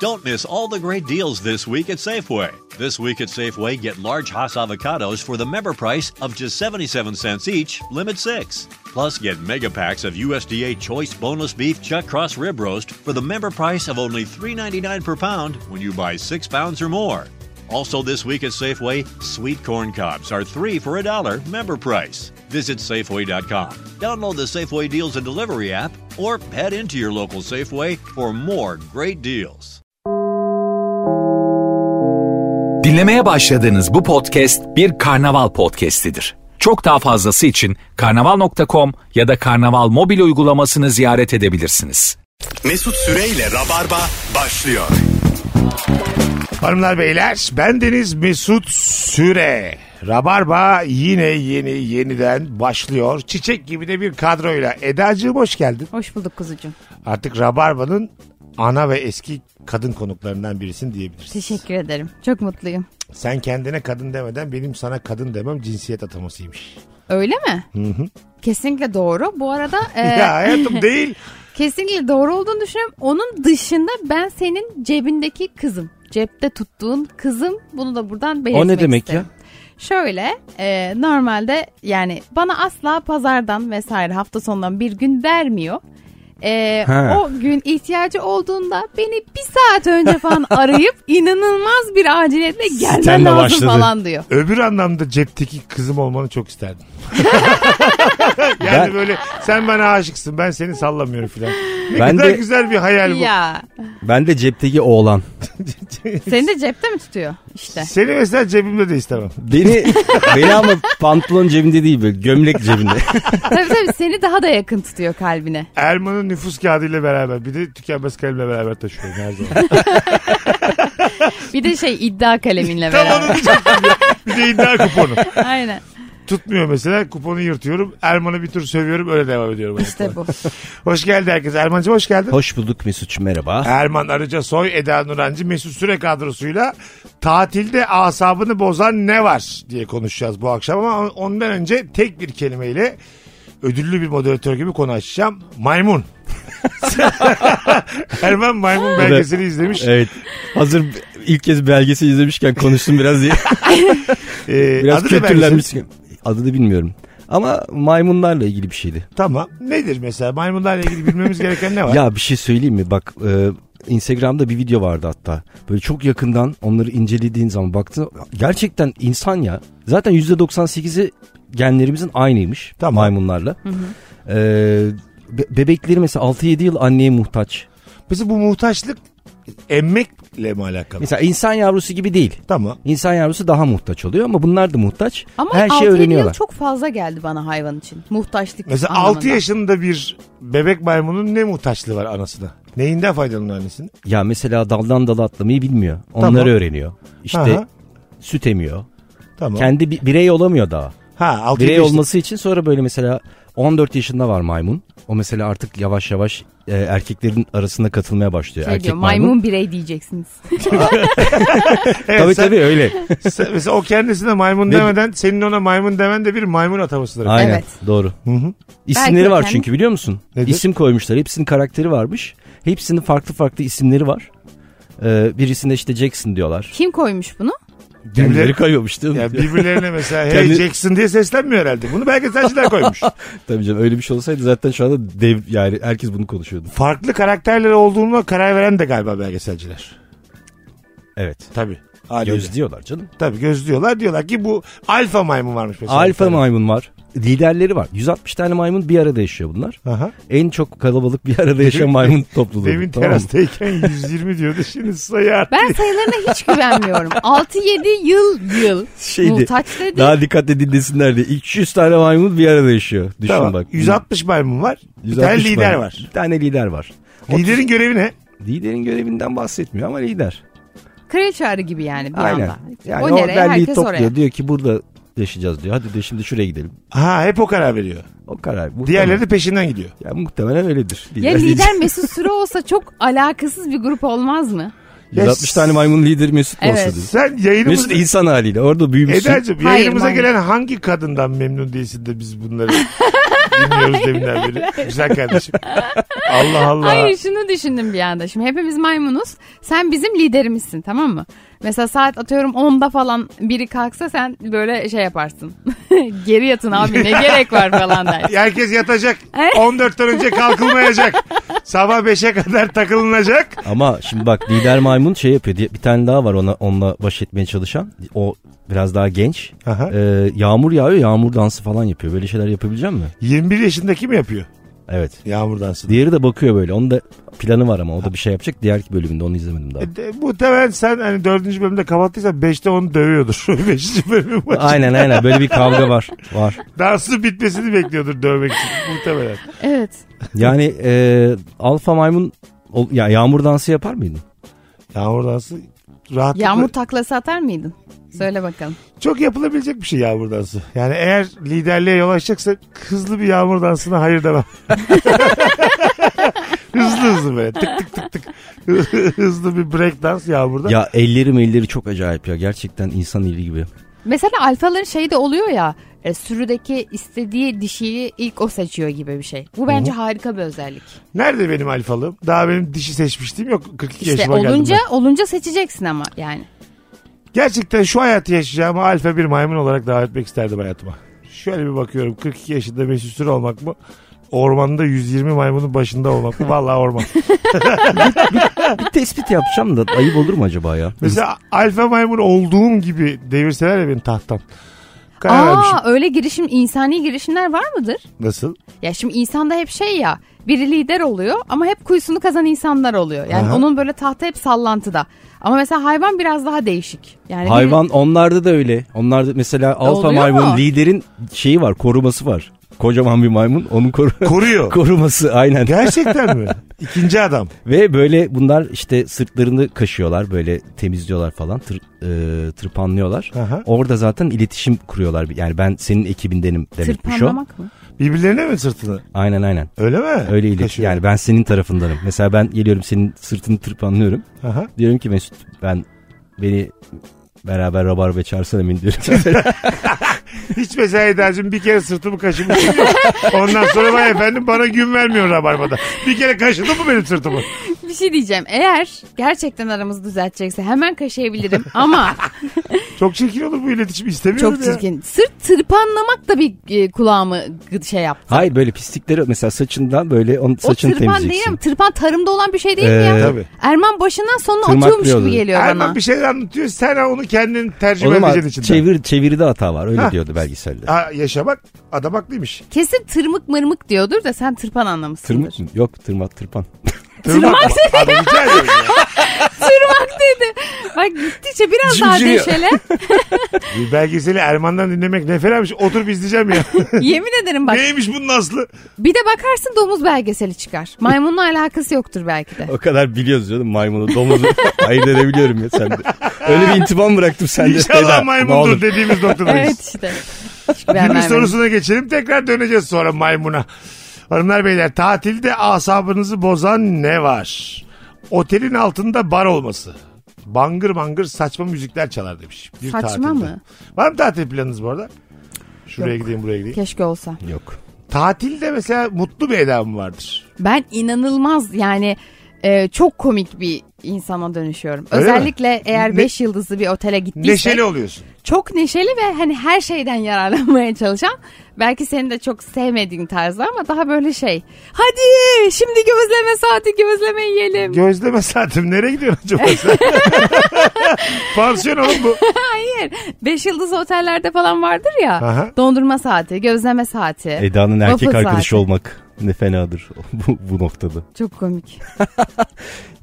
Don't miss all the great deals this week at Safeway. This week at Safeway, get large Hass avocados for the member price of just 77 cents each, limit six. Plus, get mega packs of USDA Choice Boneless Beef Chuck Cross Rib Roast for the member price of only $3.99 per pound when you buy six pounds or more. Also, this week at Safeway, sweet corn cobs are three for a dollar member price. Visit Safeway.com, download the Safeway Deals and Delivery app, or head into your local Safeway for more great deals. Dinlemeye başladığınız bu podcast bir karnaval podcastidir. Çok daha fazlası için karnaval.com ya da karnaval mobil uygulamasını ziyaret edebilirsiniz. Mesut Süreyle Rabarba başlıyor. Hanımlar beyler ben Deniz Mesut Süre. Rabarba yine yeni yeniden başlıyor. Çiçek gibi de bir kadroyla. Eda'cığım hoş geldin. Hoş bulduk kuzucuğum. Artık Rabarba'nın ana ve eski kadın konuklarından birisin diyebiliriz. Teşekkür ederim. Çok mutluyum. Sen kendine kadın demeden benim sana kadın demem cinsiyet atamasıymış. Öyle mi? Kesinlikle doğru. Bu arada e, Ya hayatım değil. kesinlikle doğru olduğunu düşünüyorum. Onun dışında ben senin cebindeki kızım. Cepte tuttuğun kızım. Bunu da buradan belirtmek O ne demek isterim. Şöyle e, normalde yani bana asla pazardan vesaire hafta sonundan bir gün vermiyor. E, Ha. o gün ihtiyacı olduğunda beni bir saat önce falan arayıp inanılmaz bir aciliyetle gelmen Sistemle lazım başladı. falan diyor. Öbür anlamda cepteki kızım olmanı çok isterdim. yani Ben- böyle sen bana aşıksın ben seni sallamıyorum filan. Ne Ben kadar de- güzel bir hayal bu. Ya Ben de cepteki oğlan. seni de cepte mi tutuyor işte? Seni mesela cebimde de istemem. Beni beni ama pantolon cebinde değil böyle gömlek cebinde. tabii tabii seni daha da yakın tutuyor kalbine. Erman'ın nüfus kağıdıyla beraber bir de tükenmez kalemle beraber taşıyorum her zaman. Bir de şey iddia kaleminle Tam beraber. onu diyecektim ya. Bir de iddia kuponu. Aynen. Tutmuyor mesela kuponu yırtıyorum. Erman'ı bir tur sövüyorum öyle devam ediyorum. İşte bu. Hoş geldi herkes. Erman'cığım hoş geldin. Hoş bulduk Mesut'cum merhaba. Erman Arıca Soy, Eda Nurancı, Mesut Süre kadrosuyla tatilde asabını bozan ne var diye konuşacağız bu akşam ama on- ondan önce tek bir kelimeyle ödüllü bir moderatör gibi konu açacağım. Maymun. Erman Maymun belgeseli izlemiş. Ee, Evet. Hazır ilk kez belgesi izlemişken konuştum biraz diye. Ee, Biraz adı ne belgesel? kültürlenmiş. Adı da bilmiyorum. Ama maymunlarla ilgili bir şeydi. Tamam. Nedir mesela? Maymunlarla ilgili bilmemiz gereken ne var? Ya bir şey söyleyeyim mi? Bak e, Instagram'da bir video vardı hatta. Böyle çok yakından onları incelediğin zaman baktın. Gerçekten insan ya. Zaten %98'i genlerimizin aynıymış Tamam. maymunlarla. E, be- bebekleri mesela 6-7 yıl anneye muhtaç. Mesela bu muhtaçlık emmekle mi alakalı? Mesela insan yavrusu gibi değil. Tamam. İnsan yavrusu daha muhtaç oluyor ama bunlar da muhtaç. Ama Her Her şeyi öğreniyorlar. çok fazla geldi bana hayvan için. Muhtaçlık Mesela anlamında. 6 yaşında bir bebek maymunun ne muhtaçlığı var anasına? Neyinden faydalanır annesinin? Ya mesela daldan dala atlamayı bilmiyor. Onları Tamam. öğreniyor. İşte Aha. süt emiyor. Tamam. Kendi bi- birey olamıyor daha. ha, 6 Birey olması için sonra böyle mesela 14 yaşında var maymun. O mesela artık yavaş yavaş e, erkeklerin arasına katılmaya başlıyor. Şey Erkek diyor, maymun. birey diyeceksiniz. Evet, Tabii sen- tabii öyle. sen- mesela o kendisine maymun Ne- demeden senin ona maymun demen de bir maymun atamasıdır. Aynen Evet. doğru. hı. İsimleri Belki var efendim. çünkü biliyor musun? Nedir? İsim koymuşlar. Hepsinin karakteri varmış. Hepsinin farklı farklı isimleri var. Ee, birisinde işte Jackson diyorlar. Kim koymuş bunu? Kendileri koyuyormuş değil mi? Ya birbirlerine mesela hey Kendi- Jackson diye seslenmiyor herhalde. Bunu belgeselciler koymuş. Tabii canım öyle bir şey olsaydı zaten şu anda dev yani herkes bunu konuşuyordu. Farklı karakterler olduğuna karar veren de galiba belgeselciler. Evet. Tabii. Ailece. Göz diyorlar canım. Tabii gözlüyorlar. Diyorlar ki bu alfa maymun varmış mesela. Alfa Bir tane. maymun var. Liderleri var. 160 tane maymun bir arada yaşıyor bunlar. Aha. En çok kalabalık bir arada yaşayan maymun topluluğu. Demin Tamam mı? terastayken 120 diyordu şimdi sayı arttı. Ben sayılarına hiç güvenmiyorum. 6-7 yıl yıl. Şeydi, Muhtaç dedi. Daha dikkatli dinlesinler diye. 200 tane maymun bir arada yaşıyor. Düşün Tamam. bak. 160 maymun var. bir 160 tane lider maymun. var. Bir tane lider var. Liderin görevi ne? Liderin görevinden bahsetmiyor ama lider. Kraliçe arı gibi yani bir Aynen. anda. Yani o o, nereye derneği herkes topluyor. oraya. Diyor ki burada yaşayacağız diyor. Hadi de şimdi şuraya gidelim. Ha hep o karar veriyor. O karar. Muhtemelen- Diğerleri de peşinden gidiyor. Ya muhtemelen öyledir. Ya diyecek. lider Mesut Süre olsa çok alakasız bir grup olmaz mı? 160 tane maymun lideri Mesut mu Evet. olsa diyor. Sen yayınımızda... Mesut insan haliyle orada büyümüşsün. Eda'cığım Hayır, yayınımıza maymun. gelen hangi kadından memnun değilsin de biz bunları Dinliyoruz deminden beri. Güzel kardeşim. Allah Allah. Hayır şunu düşündüm bir anda. Şimdi hepimiz maymunuz. Sen bizim liderimizsin tamam mı? Mesela saat atıyorum 10'da falan biri kalksa sen böyle şey yaparsın. Geri yatın abi ne gerek var falan der. Herkes yatacak. 14'ten önce kalkılmayacak. Sabah 5'e kadar takılınacak. Ama şimdi bak lider maymun şey yapıyor. diye- Bir tane daha var ona onunla baş etmeye çalışan. O biraz daha genç. Aha. Ee, yağmur yağıyor yağmur dansı falan yapıyor. Böyle şeyler yapabilecek mi? 21 yaşındaki mi yapıyor? Evet. Yağmur dansı. Diğeri de bakıyor böyle. Onun da planı var ama o da bir şey yapacak. Diğer bölümünde onu izlemedim daha. E, de- Muhtemelen sen hani dördüncü bölümde kapattıysan beşte onu dövüyordur. Beşinci bölümün başı. Aynen aynen böyle bir kavga var. Var. Dansın bitmesini bekliyordur dövmek için muhtemelen. Evet. Yani e, alfa maymun ol- ya yağmur dansı yapar mıydın? Yağmur dansı rahatlıkla. Yağmur taklası atar mıydın? Söyle bakalım. Çok yapılabilecek bir şey yağmur dansı. Yani eğer liderliğe yol açacaksa hızlı bir yağmur dansına hayır demem. hızlı hızlı böyle tık tık tık tık. hızlı bir break dans yağmurda. Ya ellerim elleri çok acayip ya. Gerçekten insan eli gibi. Mesela alfaların şey de oluyor ya. e, sürüdeki istediği dişiyi ilk o seçiyor gibi bir şey. Bu bence harika bir özellik. Nerede benim alfalığım? Daha benim dişi seçmiştim yok 42 İşte yaşıma geldim olunca ben. olunca seçeceksin ama yani. Gerçekten şu hayatı yaşayacağımı alfa bir maymun olarak davet etmek isterdim hayatıma. Şöyle bir bakıyorum 42 yaşında Mesut Süre olmak mı? Ormanda 120 maymunun başında olmak mı? Vallahi orman. Bir tespit yapacağım da ayıp olur mu acaba ya? Mesela alfa maymun olduğum gibi devirseler ya beni tahttan. Karar vermişim. Aa öyle girişim insani girişimler var mıdır? Nasıl? Ya şimdi insanda hep şey ya biri lider oluyor ama hep kuyusunu kazan insanlar oluyor. Yani Aha. onun böyle tahta hep sallantıda. Ama mesela hayvan biraz daha değişik. Yani Hayvan onlarda da öyle. Onlarda mesela alfa oluyor maymun mu? liderin şeyi var koruması var. Kocaman bir maymun onun koru- Koruyor. koruması aynen. Gerçekten mi? İkinci adam. Ve böyle bunlar işte sırtlarını kaşıyorlar böyle temizliyorlar falan tır, e, tırpanlıyorlar. Aha. Orada zaten iletişim kuruyorlar. Yani ben senin ekibindenim bir demekmiş şey o. tırpanlamak mı? Birbirlerine mi sırtını? Aynen aynen. Öyle mi? Öyle iletişim. Taşıyor. Yani ben senin tarafındanım. Mesela ben geliyorum senin sırtını tırpanlıyorum. Aha. Diyorum ki Mesut ben beni beraber rabarba çağırsana beni diyorum. Hiç mesela Eda'cığım bir kere sırtımı kaşımışım yok. Ondan sonra vay efendim bana gün vermiyor rabarbada. Bir kere kaşıdın mı benim sırtımı? Bir şey diyeceğim. Eğer gerçekten aramızı düzeltecekse hemen kaşıyabilirim ama Çok çirkin olur bu iletişim istemiyorum çok ya. çirkin. Sırt tırpanlamak da bir e, kulağımı gı- şey yaptı. Hayır böyle pislikleri mesela saçından böyle onun saçını o tırpan değil temizleyeceksin. mi? Tırpan tarımda olan bir şey değil mi ya? Ee, tabii. Erman başından sonuna atıyormuş gibi Tırmaklıyordu. geliyor bana. Erman bir şeyler anlatıyor. Sen onu kendin tercüme O zaman edeceksin içinden. çevir, çeviride hata var öyle Ha. diyordu belgeselde. Ha, yaşa bak adam haklıymış. Kesin tırmık mırmık diyordur da sen tırpan anlamışsındır. Tırmık mı? Yok tırma tırpan. Tırnak mı? Adam rica ediyorum ya. Tırmak dedi. Bak gittikçe biraz daha Cimciriyor. deşele. Bir belgeseli Erman'dan dinlemek ne felamış. Oturup izleyeceğim ya. Yemin ederim bak. Neymiş bunun aslı? Bir de bakarsın domuz belgeseli çıkar. Maymunla alakası yoktur belki de. O kadar biliyoruz canım maymunu domuzu ayırt edebiliyorum ya sende. Öyle bir intiban bıraktım sende. Eda, İnşallah ne maymundur olur. dediğimiz noktadayız. evet işte. Çünkü ben Günün vermedim. sorusuna geçelim tekrar döneceğiz sonra maymuna. Hanımlar beyler tatilde asabınızı bozan ne var? Otelin altında bar olması. Bangır bangır saçma müzikler çalar demiş. Bir Saçma tatilde. mı? Var mı tatil planınız bu arada? Şuraya gideyim buraya gideyim. Keşke olsa. Yok. Tatilde mesela mutlu bir edam vardır. Ben inanılmaz yani e, çok komik bir insana dönüşüyorum. Öyle mi? Özellikle eğer Ne- 5 yıldızlı bir otele gittiysek Neşeli oluyorsun. çok neşeli ve hani her şeyden yararlanmaya çalışan. Belki senin de çok sevmediğin tarzda ama daha böyle şey. Hadi şimdi gözleme saati gözleme yiyelim. Gözleme saatim nereye gidiyorsun acaba sen? Pansiyon oğlum bu. Beş yıldız otellerde falan vardır ya. Aha. Dondurma saati, gözleme saati. Eda'nın erkek Waffle arkadaşı zaten. olmak ne fenadır bu, bu noktada. Çok komik.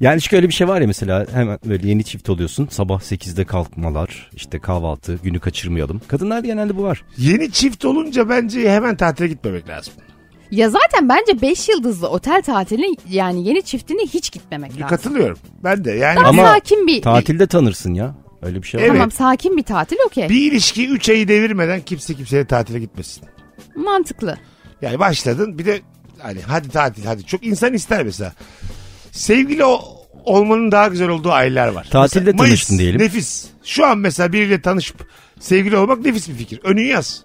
Yani çünkü öyle bir şey var ya mesela hemen böyle yeni çift oluyorsun. Sabah 8'de kalkmalar, işte kahvaltı, günü kaçırmayalım. Kadınlarda genelde bu var. Yeni çift olunca bence hemen tatile gitmemek lazım. Ya zaten bence beş yıldızlı otel tatiline yani yeni çiftine hiç gitmemek lazım. Katılıyorum. Ben de yani. Daha Ama sakin bir Tatilde tanırsın ya. Öyle bir şey var. Tamam Evet. sakin bir tatil okey. Bir ilişki 3 ayı devirmeden kimse kimseye tatile gitmesin. Mantıklı. Yani başladın bir de hani hadi tatil hadi. Çok insan ister mesela. Sevgili o- olmanın daha güzel olduğu aylar var. Tatilde Mesela Mayıs, tanıştın diyelim. Nefis. Şu an mesela biriyle tanışıp sevgili olmak nefis bir fikir. Önü yaz.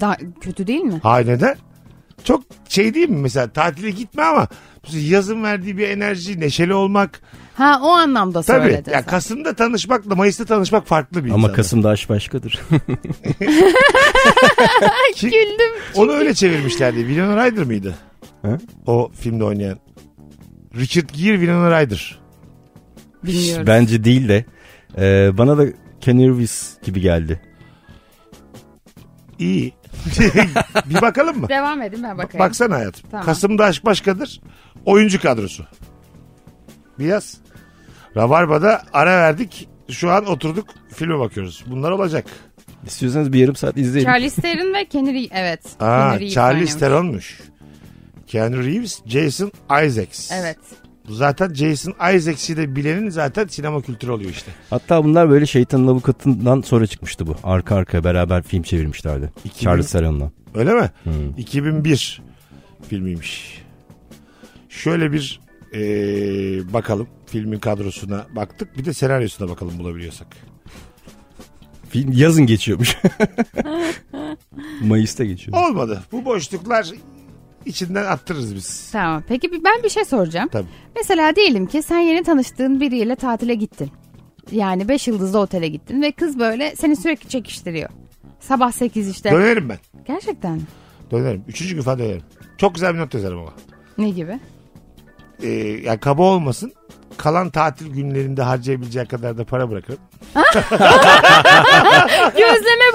Daha kötü değil mi? Ha neden? Çok şey değil mi mesela tatile gitme ama yazın verdiği bir enerji, neşeli olmak. Ha o anlamda Tabii. söyledin Ya sen. Kasım'da tanışmakla Mayıs'ta tanışmak farklı bir Ama insanda. Kasım'da aşk başkadır. Ki- Güldüm. Onu öyle çevirmişlerdi. Winona Ryder mıydı? He? O filmde oynayan. Richard Gere, Winona Ryder. Bilmiyorum. Bence değil de. e, bana da Keanu Reeves gibi geldi. İyi. bir bakalım mı? Devam edin ben bakayım. Baksana hayatım. Tamam. Kasım'da aşk başkadır. Oyuncu kadrosu. Bir yaz. Rabarba'da ara verdik. Şu an oturduk filme bakıyoruz. Bunlar olacak. İstiyorsanız bir yarım saat izleyelim. Charlize Theron ve Kenny Reeves. Evet. Aa, Keanu Reeves Charlize oynamış. Theron'muş. Keanu Reeves, Jason Isaacs. Evet. Zaten Jason Isaacs'i de bilenin zaten sinema kültürü oluyor işte. Hatta bunlar böyle Şeytanın Avukatı'ndan sonra çıkmıştı bu. Arka arka beraber film çevirmişlerdi. İki Charles Theron'la. Öyle mi? 2001 filmiymiş. Şöyle bir eee, bakalım filmin kadrosuna baktık. Bir de senaryosuna bakalım bulabiliyorsak. Film yazın geçiyormuş. Mayıs'ta geçiyor. Olmadı. Bu boşluklar içinden attırırız biz. Tamam. Peki bir- ben bir şey soracağım. Tabii. Mesela diyelim ki sen yeni tanıştığın biriyle tatile gittin. Yani 5 yıldızlı otele gittin ve kız böyle seni sürekli çekiştiriyor. Sabah 8 işte. Dönerim ben. Gerçekten mi? Dönerim. Üçüncü gün falan dönerim. Çok güzel bir not yazarım ama. Ne gibi? Eee yani kaba olmasın. Kalan tatil günlerinde harcayabileceği kadar da para bırakırım. Gözleme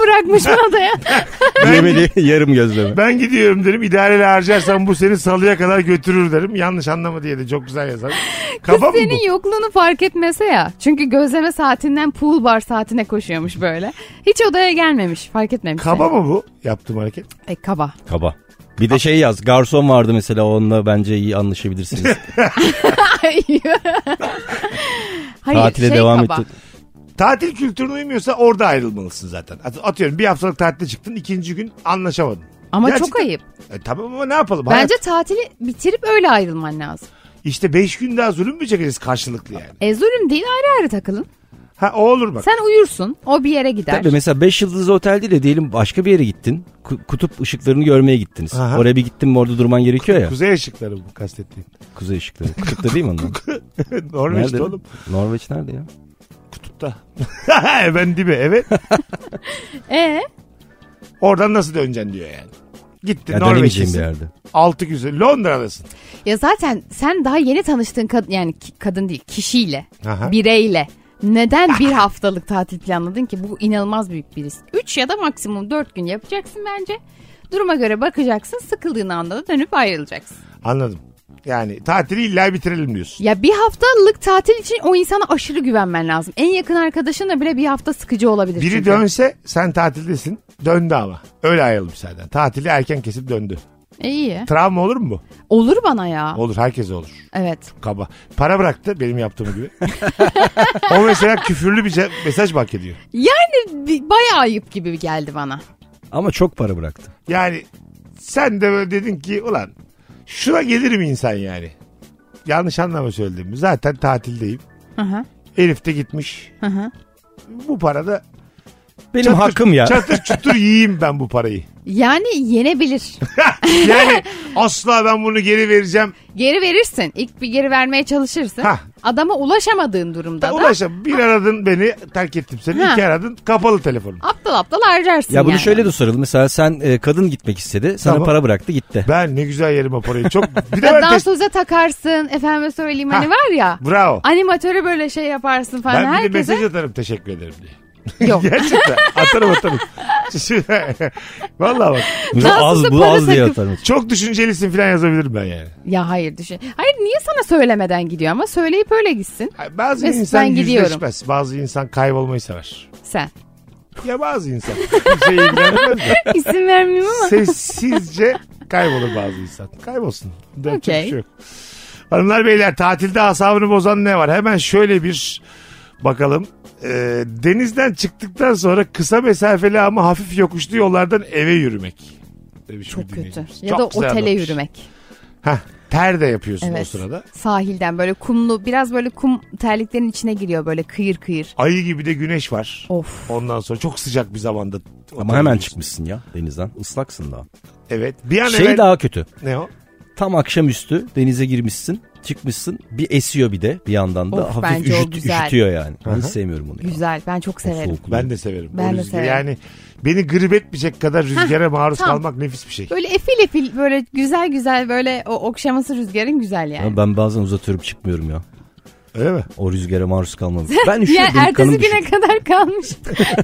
bırakmış odaya. Bilemedi yarım gözleme. Ben gidiyorum derim. İdareyle harcarsan bu seni salıya kadar götürür derim. Yanlış anlama diye de çok güzel yazarım. Kaba mı bu? Senin yokluğunu fark etmese ya. Çünkü gözleme saatinden pool bar saatine koşuyormuş böyle. Hiç odaya gelmemiş. Fark etmemiş. Kaba mı bu yaptığım hareket? E, kaba. Kaba. Bir de şey yaz. Garson vardı mesela onunla bence iyi anlaşabilirsiniz. Hayır, Tatile şey devam kaba. etti. Tatil kültürüne uymuyorsa orada ayrılmalısın zaten. At- Atıyorum bir haftalık tatile çıktın ikinci gün anlaşamadın. Ama çok Gerçekten- ayıp. E, tamam ama ne yapalım? Hayat- Bence tatili bitirip öyle ayrılman lazım. İşte beş gün daha zulüm mü çekeceğiz karşılıklı yani? E zulüm değil ayrı ayrı takılın. Ha o olur bak. Sen uyursun. O bir yere gider. Tabii mesela 5 yıldızlı otel değil de diyelim başka bir yere gittin. Ku- Kutup ışıklarını görmeye gittiniz. Aha. Oraya bir gittin mi orada durman gerekiyor ya. Kuzey ışıkları bu kastettiğim. Kuzey ışıkları. Kutupta değil mi onlar? Norveç'te Nerede? oğlum. Norveç nerede ya? Kutupta. ben dibi evet. E Oradan nasıl döneceksin diyor yani. Gittin Ya dönemeyeceğim bir Norveç'tesin. yerde. Altı güzel. Londra'dasın. ya zaten sen daha yeni tanıştığın kadın yani ki- kadın değil kişiyle, Aha. bireyle neden bir haftalık tatil planladın ki? Bu inanılmaz büyük bir risk. 3 ya da maksimum 4 gün yapacaksın bence. Duruma göre bakacaksın. Sıkıldığın anda da dönüp ayrılacaksın. Anladım. Yani tatili illa bitirelim diyorsun. Ya bir haftalık tatil için o insana aşırı güvenmen lazım. En yakın arkadaşınla bile bir hafta sıkıcı olabilir. Biri çünkü. dönse sen tatildesin. Döndü ama. Öyle ayrıldım senden. Tatili erken kesip döndü. E, iyi. Travma olur mu bu? Olur bana ya. Olur herkese olur. Evet. Kaba. Para bıraktı benim yaptığım gibi. o mesela küfürlü bir ce- mesaj bak ediyor. Yani bi- bayağı ayıp gibi geldi bana. Ama çok para bıraktı. Yani sen de böyle dedin ki ulan şuna gelir mi insan yani? Yanlış anlama söyledim. Zaten tatildeyim. Hı hı. Elif de gitmiş. Hı hı. Bu parada Benim çatır, hakkım ya. çatır çutur yiyeyim ben bu parayı. Yani yenebilir. Yani asla ben bunu geri vereceğim. Geri verirsin. İlk bir geri vermeye çalışırsın. Hah. Adama ulaşamadığın durumda da Ulaşa bir aradın beni terk ettim seni. Ha. iki aradın kapalı telefonum. aptal aptal harcarsın Ya bunu yani. şöyle de soralım. Mesela sen e, kadın gitmek istedi. Sana Tamam. para bıraktı gitti. Ben ne güzel yerim o parayı. Çok bir de Ya ben test- dansoza takarsın. Efendime söyleyeyim hani Hah. var ya. Bravo. Animatöre böyle şey yaparsın falan. Ben bir de Herkese mesaj atarım teşekkür ederim diye. Yok. Gerçekten atarım atarım. Valla bak Bu Daha az, sizi bu para az diye sakın- atarım. çok düşüncelisin falan yazabilirim ben yani. Ya hayır düşün. Hayır niye sana söylemeden gidiyor ama söyleyip öyle gitsin Ay, Bazı Mesut, insan ben gidiyorum. yüzleşmez. Bazı insan kaybolmayı sever. sen. Ya bazı insan. şey Kimseyi ilgilendirmez de. İsim vermiyorum ama. Sessizce kaybolur bazı insan. Kaybolsun. Bunda yapacak Okey. bir şey yok. Hanımlar beyler tatilde asabını bozan ne var? Hemen şöyle bir bakalım. Ee, denizden çıktıktan sonra kısa mesafeli ama hafif yokuşlu yollardan eve yürümek. Demiş Çok bir kötü. dinleyicimiz. Ya Çok da güzel otele anlatmış. yürümek. Hah, ter de yapıyorsun o Evet. sırada. Sahilden böyle kumlu biraz böyle kum terliklerin içine giriyor böyle kıyır kıyır. Ayı gibi de güneş var. Of. Ondan sonra çok sıcak bir zamanda Ama hemen çıkmışsın ya denizden. Islaksın daha. Evet. Bir an şey evvel... daha kötü. Ne o? Tam akşamüstü denize girmişsin. Çıkmışsın. Bir esiyor bir de bir yandan da. Of, Hafif bence o üşüt- güzel. üşütüyor yani. Ben hiç Aha. sevmiyorum onu. ya. Güzel ben çok O severim. soğukluğu. Ben de severim. Ben O de rüzgar- severim. Yani beni grip etmeyecek kadar rüzgara maruz tam. kalmak nefis bir şey. Böyle efil efil böyle güzel güzel böyle o okşaması rüzgarın güzel yani. Ya ben bazen uzatıyorum çıkmıyorum ya. Öyle mi? O rüzgara maruz kalmam. Ben üşüyorum. Ya benim kanım ertesi güne düşüyor. kadar kalmış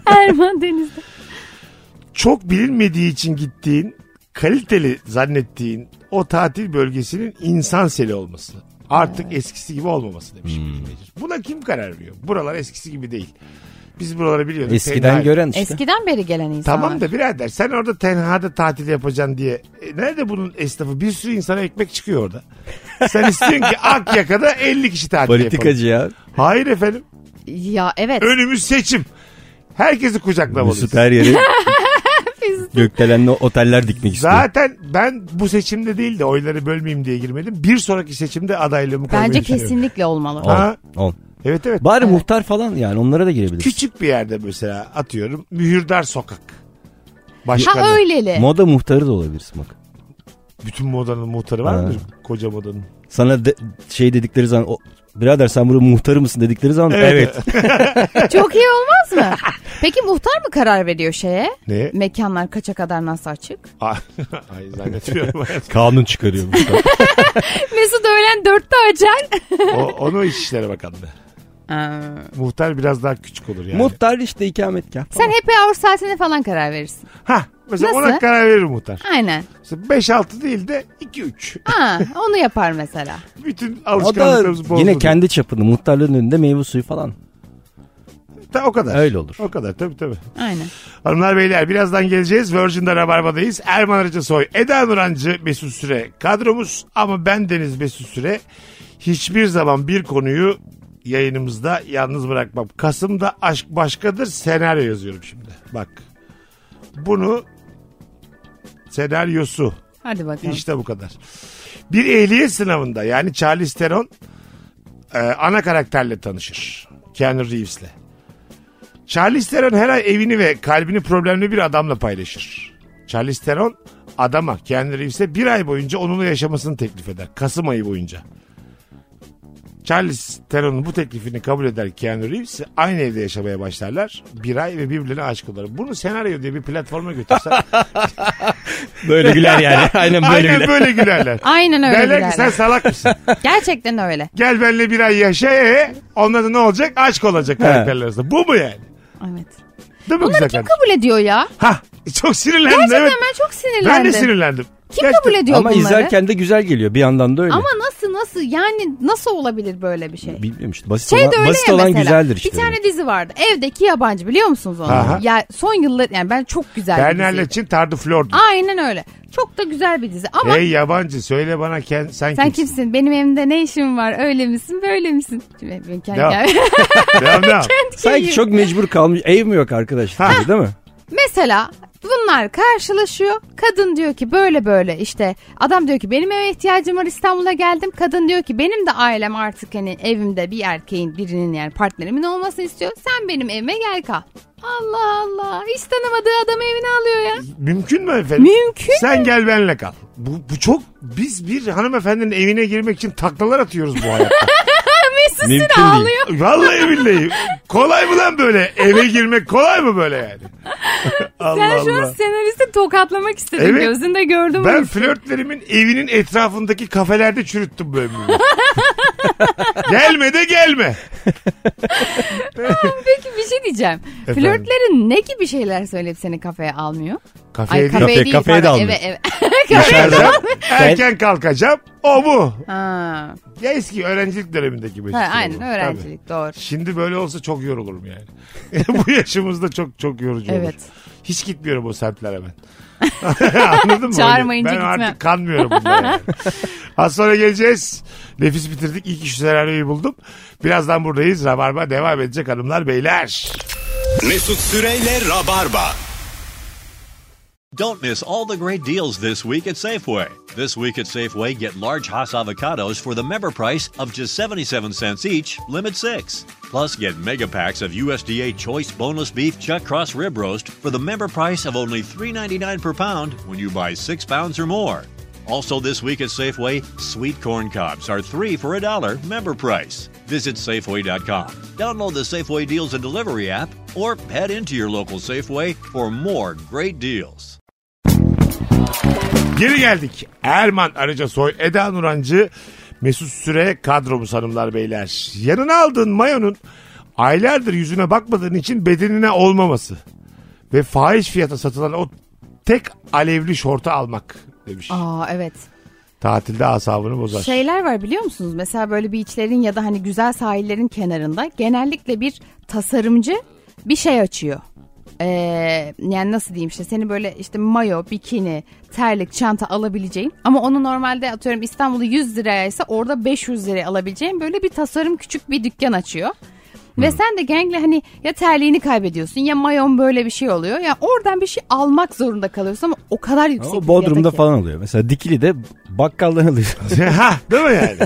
Erman Deniz'de. Çok bilinmediği için gittiğin, kaliteli zannettiğin o tatil bölgesinin insan seli olması. Artık eskisi gibi olmaması demiş. Hmm. bir dinleyicimiz. Buna kim karar veriyor? Buralar eskisi gibi değil. Biz buraları biliyorduk. Eskiden tenha- gören işte. Eskiden beri gelen insanlar. Tamam da birader sen orada tenhada tatil yapacaksın diye. E, nerede bunun esnafı? Bir sürü insana ekmek çıkıyor orada. Sen istiyorsun ki Akyaka'da 50 kişi tatil yapalım. Politikacı ya. Hayır efendim. Ya evet. Önümüz seçim. Herkesi kucaklamalıyız. Mesut her yere gökdelenli oteller dikmek istiyor. Zaten ben bu seçimde değil de oyları bölmeyeyim diye girmedim. Bir sonraki seçimde adaylığımı koymayı Bence düşünüyorum. kesinlikle olmalı. Ol, Ha? ol. Evet evet. Bari muhtar falan yani onlara da girebilir. Küçük bir yerde mesela atıyorum Mühürdar Sokak. Başkanı. Ha öyleli. Moda muhtarı da olabilirsin bak. Bütün modanın muhtarı var Ha. mıdır? Koca modanın. Sana de- şey dedikleri zaman o, birader sen buranın muhtarı mısın dedikleri zaman Evet. evet. Çok iyi olmaz mı? Peki muhtar mı karar veriyor şeye? Ne? Mekanlar kaça kadar nasıl açık? Ay ay, zannetmiyorum. hayatım. Kanun çıkarıyor muhtar. Mesut öğlen dörtte açar. o, onu İçişleri Bakanlığı. Muhtar biraz daha küçük olur yani. Muhtar işte ikametgah. Sen happy hour saatine falan karar verirsin. ha mesela Nasıl? ona karar verir muhtar. Aynen. Mesela 5-6 değil de 2-3. Ha, onu yapar mesela. Bütün O da alışkanlıklarımız bozuldu. yine kendi çapında muhtarların önünde meyve suyu falan. Ta- o kadar. Öyle olur. O kadar tabii tabii. Aynen. Hanımlar beyler birazdan geleceğiz. Virgin'de Rabarba'dayız. Erman Arıca Soy, Eda Nurancı, Mesut Süre kadromuz. Ama ben Deniz Mesut Süre hiçbir zaman bir konuyu yayınımızda yalnız bırakmam. Kasım'da aşk başkadır senaryo yazıyorum şimdi. Bak bunu senaryosu Hadi bakalım. işte bu kadar. Bir ehliyet sınavında yani Charlize Theron e, ana karakterle tanışır. Keanu Reeves'le. Charlize Theron her ay evini ve kalbini problemli bir adamla paylaşır. Charlize Theron adama Keanu Reeves'e bir ay boyunca onunla yaşamasını teklif eder. Kasım ayı boyunca. Charles Theron'un bu teklifini kabul eder Keanu Reeves. Aynı evde yaşamaya başlarlar. Bir ay ve birbirlerine aşık olurlar. Bunu senaryo diye bir platforma götürsen. Böyle güler yani. Aynen aynen böyle gülerler. Aynen öyle Derler ki sen birader. salak mısın? Gerçekten öyle. Gel benimle bir ay yaşa e. Ondan da ne olacak? Aşk olacak karakterler arasında. Bu mu yani? Evet. Değil mi Bunları güzel kim kardeşim? kabul ediyor ya? Ha, çok sinirlendim Gerçekten evet. ben çok Ben, sinirlendim. de sinirlendim. Kim Gerçekten- kabul ediyor Ama bunları? izlerken de güzel geliyor bir yandan da öyle. Ama nasıl nasıl yani nasıl olabilir böyle bir şey? Bilmiyorum işte basit Şey de olan, öyle basit ya olan mesela. güzeldir işte. Bir tane dizi vardı. Evdeki yabancı biliyor musunuz onu? Aha. Ya son yıllar yani ben çok güzel bir Bernal diziydi. için Tardı Flor'du. Aynen öyle. Çok da güzel bir dizi ama Hey yabancı söyle bana ken, sen, sen kimsin? kimsin? Benim evimde ne işim var? Öyle misin? Böyle misin? Şimdi ben kendi Devam. Devam, devam. Sanki çok mecbur kalmış. Ev mi yok arkadaşlar diye, değil mi? Mesela bunlar karşılaşıyor. Kadın diyor ki böyle böyle işte adam diyor ki benim eve ihtiyacım var İstanbul'a geldim. Kadın diyor ki benim de ailem artık hani evimde bir erkeğin birinin yani partnerimin olmasını istiyor. Sen benim evime gel kal. Allah Allah. Hiç tanımadığı adamı evine alıyor ya. Mümkün mü efendim? Mümkün Sen gel benle kal. Bu, bu çok biz bir hanımefendinin evine girmek için taklalar atıyoruz bu hayatta. Mümkün değil. ağlıyor. Vallahi billahi. Kolay mı lan böyle? Eve girmek kolay mı böyle yani? Allah Sen şu an senaristi tokatlamak istedin. Evet. Gözünde gördüm. Ben Ben... flörtlerimin evinin etrafındaki kafelerde çürüttüm bu ömrümü. gelme de gelme. Peki bir şey diyeceğim. Flörtlerin ne gibi şeyler söyleyip seni kafeye almıyor? Kafeye Ay değil. kafeye Kafe- değil. kafeye de pardon, almıyor. Eve, eve. kafeye de Dışarıda. almıyor. Erken kalkacağım. O bu. Ha. Ya eski öğrencilik dönemindeki Mesut. Ha, Süre aynen bu. öğrencilik doğru. Tabii. Şimdi böyle olsa çok yorulurum yani. bu yaşımızda çok çok yorucu olur. Evet. Hiç gitmiyorum o semtlere ben. Anladın mı? Çağırmayınca ben gitmem. artık kanmıyorum bunlara. yani. Az sonra geleceğiz. Nefis bitirdik. İlk şu senaryoyu buldum. Birazdan buradayız. Rabarba devam edecek hanımlar beyler. Mesut Süreyle Rabarba. Don't miss all the great deals this week at Safeway. This week at Safeway, get large Hass avocados for the member price of just 77 cents each, limit six. Plus, get mega packs of USDA Choice Boneless Beef Chuck Cross Rib Roast for the member price of only $3.99 per pound when you buy six pounds or more. Also, this week at Safeway, sweet corn cobs are three for a dollar member price. Visit Safeway.com, download the Safeway Deals and Delivery app, or head into your local Safeway for more great deals. Geri geldik. Erman Arıca Soy, Eda Nurancı, Mesut Süre kadromuz hanımlar beyler. Yanına aldığın mayonun aylardır yüzüne bakmadığın için bedenine olmaması ve fahiş fiyata satılan o tek alevli şortu almak demiş. Aa Şey evet. Tatilde asabını bozar. Şeyler var biliyor musunuz? Mesela böyle beachlerin ya da hani güzel sahillerin kenarında genellikle bir tasarımcı bir şey açıyor. Ee, yani nasıl diyeyim işte seni böyle işte mayo, bikini, terlik, çanta alabileceğin ama onu normalde atıyorum İstanbul'da 100 liraya ise orada 500 liraya alabileceğin böyle bir tasarım küçük bir dükkan açıyor. Ve sen de gengle hani ya terliğini kaybediyorsun ya mayon böyle bir şey oluyor. Ya oradan bir şey almak zorunda kalıyorsun ama o kadar yüksek. bir O fiyata Bodrum'da ki. falan oluyor. Mesela Dikili'de bakkaldan alıyor. ha, değil mi yani?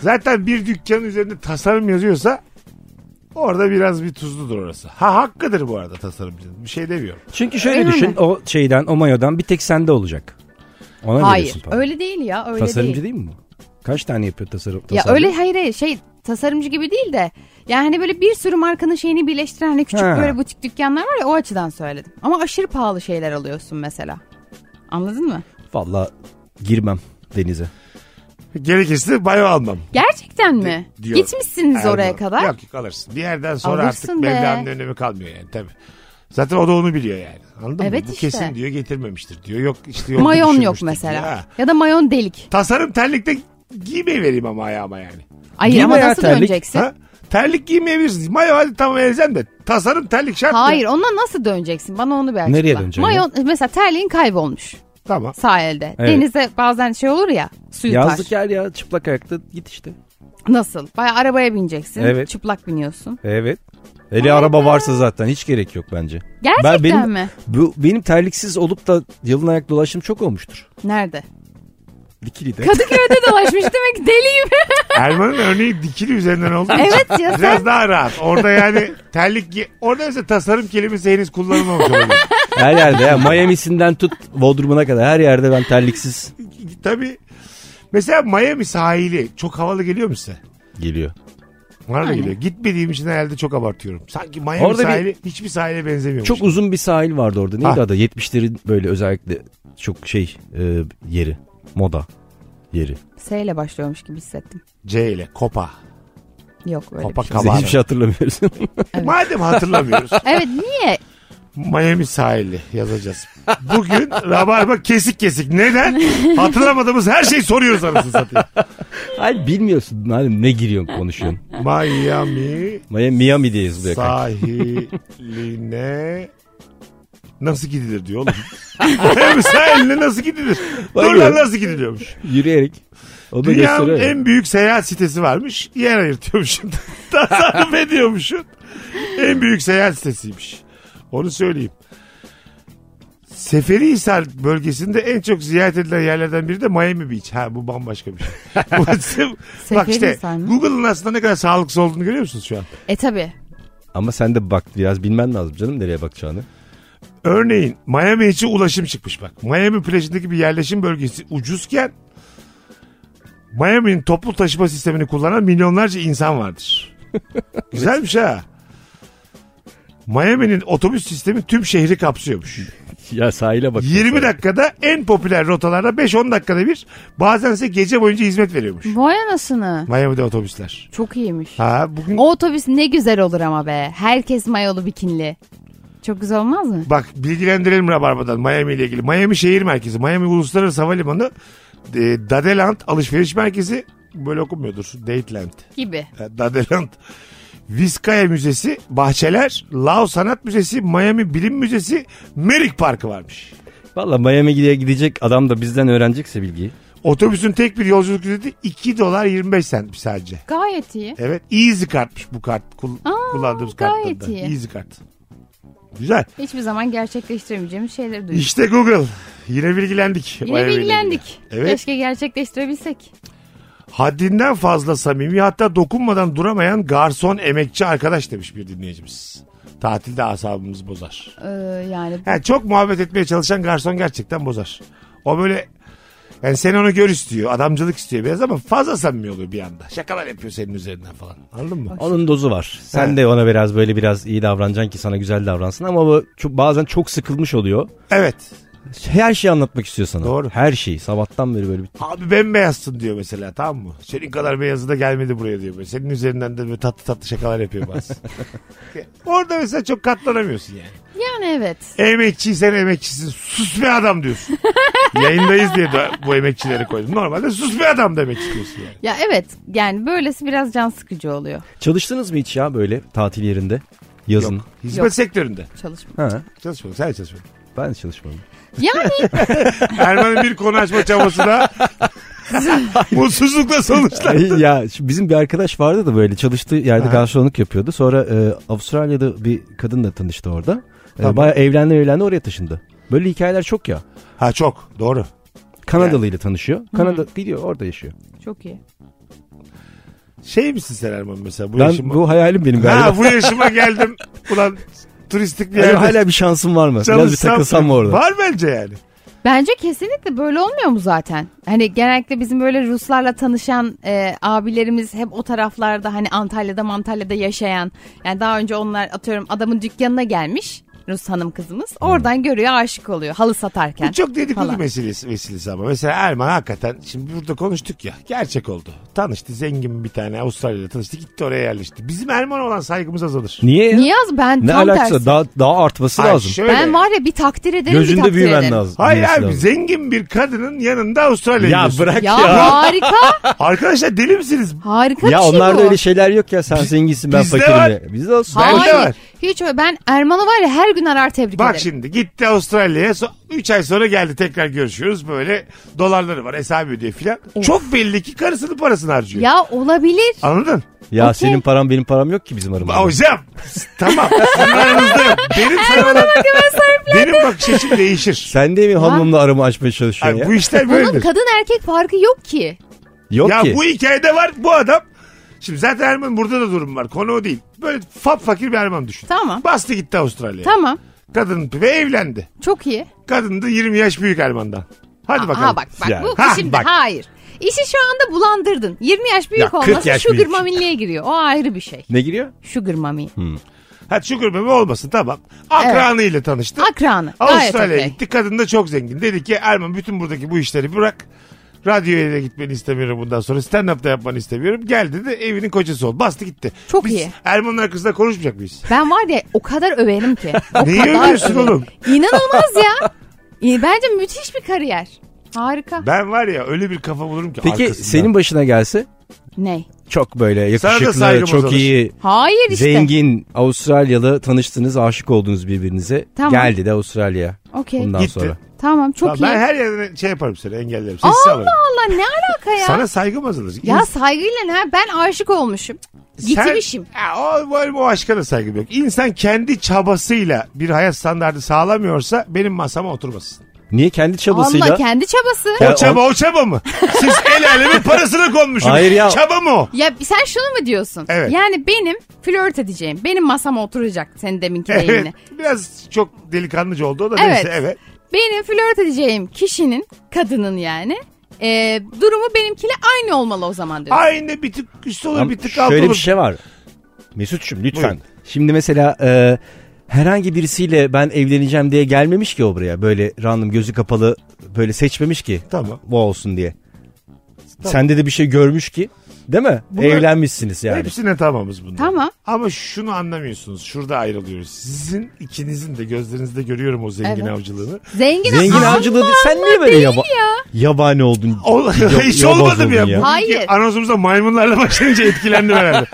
Zaten bir dükkanın üzerinde tasarım yazıyorsa orada biraz bir tuzludur orası. Ha hakkıdır bu arada tasarımcının. Bir şey demiyorum. Çünkü şöyle Öyle düşün mi? o şeyden o mayodan bir tek sende olacak. Ona Hayır veriyorsun para. öyle değil ya öyle değil. Tasarımcı değil mi bu? Kaç tane yapıyor tasarım? Ya tasarım? öyle hayır hayır şey tasarımcı gibi değil de yani hani böyle bir sürü markanın şeyini birleştiren hani küçük Ha. böyle butik dükkanlar var ya o açıdan söyledim. Ama aşırı pahalı şeyler alıyorsun mesela. Anladın mı? Valla girmem denize. Gerekirse bayo almam. Gerçekten mi? diyor. Gitmişsiniz Erman. oraya kadar. Yok yok alırsın. Bir yerden sonra Alırsın artık be. Mevla'nın önemi kalmıyor yani tabii. Zaten o da onu biliyor yani. Anladın Evet mı? Bu işte. kesin diyor getirmemiştir diyor. Yok işte yok. Mayon yok mesela. Ya da mayon delik. Tasarım terlikte giymeyi vereyim ama ayağıma yani. Hayır Giyme ama ya nasıl terlik. döneceksin? Ha? Terlik giymeyebilirsiniz. Mayo hadi tamam vereceğim de. Tasarım terlik şart mı? Hayır onunla nasıl döneceksin? Bana onu bir açıkla. Nereye döneceksin Mayon mesela terliğin kaybolmuş Tamam. sahilde. Evet. Denize bazen şey olur ya suyu taş. Yazlık yer ya çıplak ayakta git işte. Nasıl? Baya arabaya bineceksin. Evet. Çıplak biniyorsun. Evet. Eli araba varsa zaten hiç gerek yok bence. Gerçekten Ben- benim, mi? Bu, benim terliksiz olup da yalın ayak dolaşım çok olmuştur. Nerede? Dikili'de. Kadıköy'de dolaşmış demek ki deliyim. Erman'ın örneği dikili üzerinden oldu. evet ya sen Biraz daha rahat. Orada yani terlik gi- Orada mesela tasarım kelimesi henüz kullanılmamış olabilir. her yerde ya. Miami'sinden tut Bodrum'una kadar her yerde ben terliksiz Tabii. Mesela Miami sahili çok havalı geliyor mu size? geliyor. Bana da geliyor. Gitmediğim için herhalde çok abartıyorum. Sanki Miami Orada bir- sahili hiçbir sahile benzemiyormuş. Çok uzun bir sahil vardı orada. Neydi Ha. adı? 70'lerin böyle özellikle çok şey e, yeri. Moda yeri. S ile başlıyormuş gibi hissettim. C ile Kopa. Yok öyle Kopa bir şey. Biz hiçbir Kabana. şey hatırlamıyoruz. Madem hatırlamıyoruz. Evet niye? Miami sahili yazacağız. Bugün Rabarba kesik kesik. Neden? Hatırlamadığımız her şeyi soruyoruz anasını satayım. Hayır bilmiyorsun. Hani ne giriyorsun konuşuyorsun. Miami Miami, Miami diye yazılıyor. kanka. sahiline nasıl gidilir diyor oğlum. Miami sahiline nasıl gidilir? Vay Dur lan be. nasıl gidiliyormuş. Yürüyerek. O da Dünyanın gösteriyor. ya. en büyük seyahat sitesi varmış. Yer ayırtıyormuşum. Tasarruf ediyormuşum. En büyük seyahat sitesiymiş. Onu söyleyeyim. Seferihisar bölgesinde en çok ziyaret edilen yerlerden biri de Miami Beach. Ha bu bambaşka bir şey. Bu- Bak işte Seferihisar mı? Google'ın aslında ne kadar sağlıksız olduğunu görüyor musunuz şu an? E tabi. Ama sen de bak biraz bilmen lazım canım nereye bakacağını. Örneğin Miami için ulaşım çıkmış bak. Miami plajındaki bir yerleşim bölgesi ucuzken Miami'nin toplu taşıma sistemini kullanan milyonlarca insan vardır. Güzelmiş ha. Miami'nin otobüs sistemi tüm şehri kapsıyormuş. Ya sahile bak. 20 dakikada en popüler rotalarda 5-10 dakikada bir bazense gece boyunca hizmet veriyormuş. Vay anasını. Miami'de otobüsler. Çok iyiymiş. Ha bugün O otobüs ne güzel olur ama be. Herkes mayolu bikinli. Çok güzel olmaz mı? Bak bilgilendirelim Rabarba'dan Miami ile ilgili. Miami şehir merkezi. Miami Uluslararası Havalimanı. E, Dadeland alışveriş merkezi. Böyle okunmuyordur. Dateland. Gibi. E, Dadeland. Vizcaya Müzesi, Bahçeler, Lao Sanat Müzesi, Miami Bilim Müzesi, Merrick Parkı varmış. Valla Miami gidiye gidecek adam da bizden öğrenecekse bilgiyi. Otobüsün tek bir yolculuk ücreti 2 dolar 25 sentmiş sadece. Gayet iyi. E- Evet. Easy kartmış bu kart. Kul- Aa, kullandığımız gayet kartlarda. iyi. Easy kart. Güzel. Hiçbir zaman gerçekleştiremeyeceğimiz şeyleri duyduk. İşte Google. Yine bilgilendik. Yine Bayağı bilgilendik. Evet. Keşke gerçekleştirebilsek. Haddinden fazla samimi hatta dokunmadan duramayan garson emekçi arkadaş demiş bir dinleyicimiz. Tatilde asabımızı bozar. Ee, yani Yani çok muhabbet etmeye çalışan garson gerçekten bozar. O böyle yani sen onu gör istiyor. Adamcılık istiyor biraz ama fazla samimi oluyor bir anda. Şakalar yapıyor senin üzerinden falan. Anladın mı? Onun dozu var. Sen He. de ona biraz böyle biraz iyi davranacaksın ki sana güzel davransın ama bu çok, bazen çok sıkılmış oluyor. Evet. Her şeyi anlatmak istiyor sana. Doğru. Her şeyi. Sabahtan beri böyle bir Abi bembeyazsın diyor mesela tamam mı? Senin kadar beyazı da gelmedi buraya diyor. Böyle. Senin üzerinden de böyle tatlı tatlı şakalar yapıyor bazen. Orada mesela çok katlanamıyorsun yani. yani evet. Emekçiysen emekçisin. Sus be adam diyorsun. Yayındayız diye de bu emekçileri koydum. Normalde sus be adam demek istiyorsun yani. Ya evet. Yani böylesi biraz can sıkıcı oluyor Çalıştınız mı hiç ya böyle tatil yerinde? Yazın. Yok. Hizmet Yok. sektöründe. çalışma. Ha, Çalışmıyorum. Sen çalışmıyorsun. ben de çalışmadım. Yani Erman'ın bir konu açma çabası da mutsuzlukla sonuçlandı. Ay, ya şu bizim bir arkadaş vardı da böyle çalıştığı yerde garsonluk yapıyordu. Sonra e, Avustralya'da bir kadınla tanıştı orada. E, Tamam. bayağı evlendi evlendi oraya taşındı. Böyle hikayeler çok ya. Ha çok doğru. Kanadalı ile tanışıyor. Kanada gidiyor orada yaşıyor. çok iyi. Şey misin sen Erman mesela? Bu ben yaşıma... bu hayalim benim galiba. Ha bu yaşıma geldim. Ulan turistik bir yerde. Acaba hala bir şansım var mı? Biraz bir çalışsam- takılsam mı orada? Var bence yani. Bence kesinlikle böyle olmuyor mu zaten? Hani genellikle bizim böyle Ruslarla tanışan e, abilerimiz hep o taraflarda hani Antalya'da Antalya'da yaşayan. Yani daha önce onlar atıyorum adamın dükkanına gelmiş Rus hanım kızımız. Oradan görüyor aşık oluyor halı satarken. Bu çok dedikodu falan. meselesi, vesilesi ama. Mesela Erman hakikaten şimdi burada konuştuk ya. Gerçek oldu. Tanıştı zengin bir tane Avustralya'da tanıştı. Gitti oraya yerleşti. Bizim Erman olan saygımız azalır. Niye? ya? Niye az ben Ne tam alakası? tersi. Daha, daha artması Hayır, lazım. şöyle. Ben var ya bir takdir ederim bir Gözünde takdir büyümen ederim. lazım. Hayır büyümesi abi lazım. zengin bir kadının yanında Avustralya'ya Ya gidiyorsun. bırak Ya, ya. harika Arkadaşlar deli misiniz? harika bir Ya şey onlarda bu. öyle şeyler yok ya. Sen zenginsin ben bizde fakirim var. de. Bizde olsun. Ben- Hayır, Bende var. hiç öyle. Ben Erman'ı var ya her gün arar tebrik Bak ederim. şimdi gitti Avustralya'ya 3 ay sonra geldi tekrar görüşüyoruz böyle dolarları var hesabı ödüyor filan. Çok belli ki karısının parasını harcıyor. Ya olabilir. Anladın? Ya Okey. senin param benim param yok ki bizim aramızda. Hocam tamam sizin aranızda yok. Benim sana olan, benim bakış açım değişir. Sen de mi hanımımla aramı açmaya çalışıyorsun Ay, ya? bu işler Bunun böyledir. kadın erkek farkı yok ki. Yok Ya ki. bu hikayede var bu adam. Şimdi zaten Erman burada da durum var. Konu o değil. Böyle fap fakir bir Erman düşün. Tamam. Bastı gitti Avustralya'ya. Tamam. Kadın ve evlendi. Çok iyi. Kadın da 20 yaş büyük Erman'dan. Hadi bakalım. Ha bak bak Yani. bu Ha, şimdi bak. hayır. İşi şu anda bulandırdın. 20 yaş büyük Ya, 40 olması yaş sugar büyük. mamilyeye giriyor. O ayrı bir şey. Ne giriyor? Sugar mami. Hadi şükür bebe olmasın tamam. Akranıyla tanıştı. Akranı. Gayet Avustralya'ya okey. gitti. Kadın da çok zengin. Dedi ki Erman bütün buradaki bu işleri bırak. Radyoya da gitmeni istemiyorum bundan sonra. Stand-up da yapmanı istemiyorum. Gel dedi evinin kocası ol. Bastı gitti. Çok Biz iyi. Erman'ın arkasında konuşmayacak mıyız? Ben var ya o kadar överim ki. O Neyi kadar övüyorsun överim. oğlum? İnanılmaz ya. İyi, Bence müthiş bir kariyer. Harika. Ben var ya öyle bir kafa bulurum ki Peki arkasından. senin başına gelse Ney? çok böyle Sana da yakışıklı, saygımız çok olur. iyi, Hayır işte. zengin Avustralyalı tanıştınız, aşık oldunuz birbirinize. Tamam. Geldi de Avustralya'ya. Okey. Bundan Gitti. sonra. Tamam çok Lan iyi. ben her yerden şey yaparım seni engellerim. Sessiz Allah alırım. Allah ne alaka ya? Sana saygım azalır. Ya İns- saygıyla ne? Ben aşık olmuşum. Sen- Gitmişim. Ya o, o, o aşka da saygım yok. İnsan kendi çabasıyla bir hayat standartı sağlamıyorsa benim masama oturmasın. Niye kendi çabasıyla? Allah kendi çabası. Ya O çaba o çaba mı? Siz el alemin parasına konmuşsunuz. Hayır ya. Çaba mı o? Ya sen şunu mu diyorsun? Evet. Yani benim flört edeceğim, benim masama oturacak senin deminki Evet. deyimle. Biraz çok delikanlıca oldu o da Evet. neyse evet. Benim flört edeceğim kişinin, kadının yani e, durumu benimkiyle aynı olmalı o zaman diyorsun. Aynı bir tık üst olur Ama bir tık alt Şöyle olur. bir şey var. Mesut'cum lütfen. Buyurun. Şimdi mesela e, herhangi birisiyle ben evleneceğim diye gelmemiş ki o buraya. Böyle random gözü kapalı böyle seçmemiş ki. Tamam. Bu olsun diye. Sende de bir şey görmüş ki. Değil mi? Bunlar- Evlenmişsiniz yani. Hepsine tamamız bunda. Tamam. Ama şunu anlamıyorsunuz. Şurada ayrılıyoruz. Sizin ikinizin de gözlerinizde görüyorum o zengin Evet. avcılığını. Zengin, Zengin Allah avcılığı değil. sen niye Allah böyle değil yaba- yabani oldun? Ol- Yab- Hiç yobaz olmadım oldun ya. ya. Hayır. Anonsumuzda maymunlarla başlayınca etkilendim herhalde.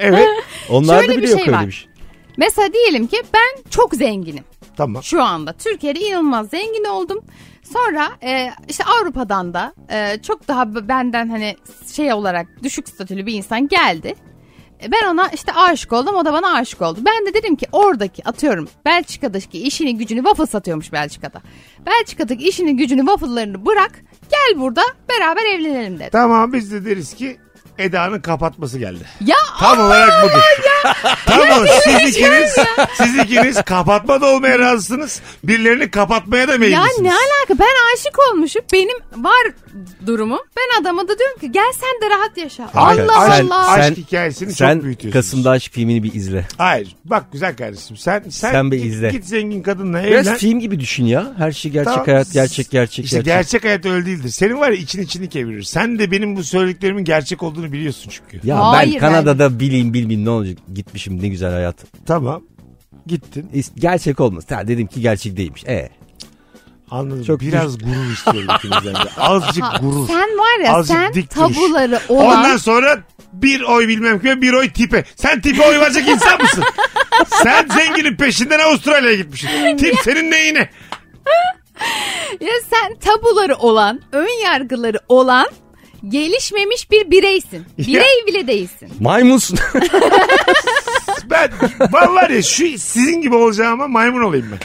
evet. Onlarda Şöyle bile bir yok şey öyle var. bir şey. Mesela diyelim ki ben çok zenginim Tamam. şu anda. Türkiye'de inanılmaz zengin oldum. Sonra e, işte Avrupa'dan da e, çok daha b- benden hani şey olarak düşük statülü bir insan geldi. ben ona işte aşık oldum o da bana aşık oldu. Ben de dedim ki oradaki atıyorum Belçika'daki işini gücünü waffle satıyormuş Belçika'da. Belçika'daki işini gücünü waffle'larını bırak gel burada beraber evlenelim dedim. Tamam biz de deriz ki Eda'nın kapatması geldi. Ya Tam olarak budur. Tam olarak siz ikiniz, siz ikiniz kapatma da olmaya razısınız. Birilerini kapatmaya da Ya meyillisiniz. ne alaka ben aşık olmuşum benim var durumum ben adama da diyorum ki gel sen de rahat yaşa Hayır, Allah aşk- Allah aşk hikayesini çok sen büyütüyorsunuz. Kasım'da aşk filmini bir izle. Hayır bak güzel kardeşim sen sen, Sen bir git, izle. git zengin kadınla evlen. Biraz film gibi düşün ya. Her şey gerçek Tamam. hayat gerçek gerçek İşte gerçek. gerçek hayat öyle değildir. Senin var ya için içini kevirir. Sen de benim bu söylediklerimin gerçek olduğunu biliyorsun çünkü. Ya Hayır, ben Kanada'da bileyim bilmeyeyim ne olacak gitmişim ne güzel hayat. Tamam. Gittin. İs- Gerçek olmaz. Ha, dedim ki gerçek değilmiş. E. Anladım. Çok Biraz gurur istiyorum ikinizden de. Azıcık gurur. sen var ya Azıcık sen dik duruş. tabuları olan Ondan sonra bir oy bilmem kime bir oy tipe. Sen tipe oy verecek insan mısın? Sen zenginin peşinden Avustralya'ya gitmişsin. Tip senin neyine? ya sen tabuları olan ön yargıları olan gelişmemiş bir bireysin birey bile değilsin Maymunsun. Ben vallahi ya şu sizin gibi olacağıma maymun olayım ben.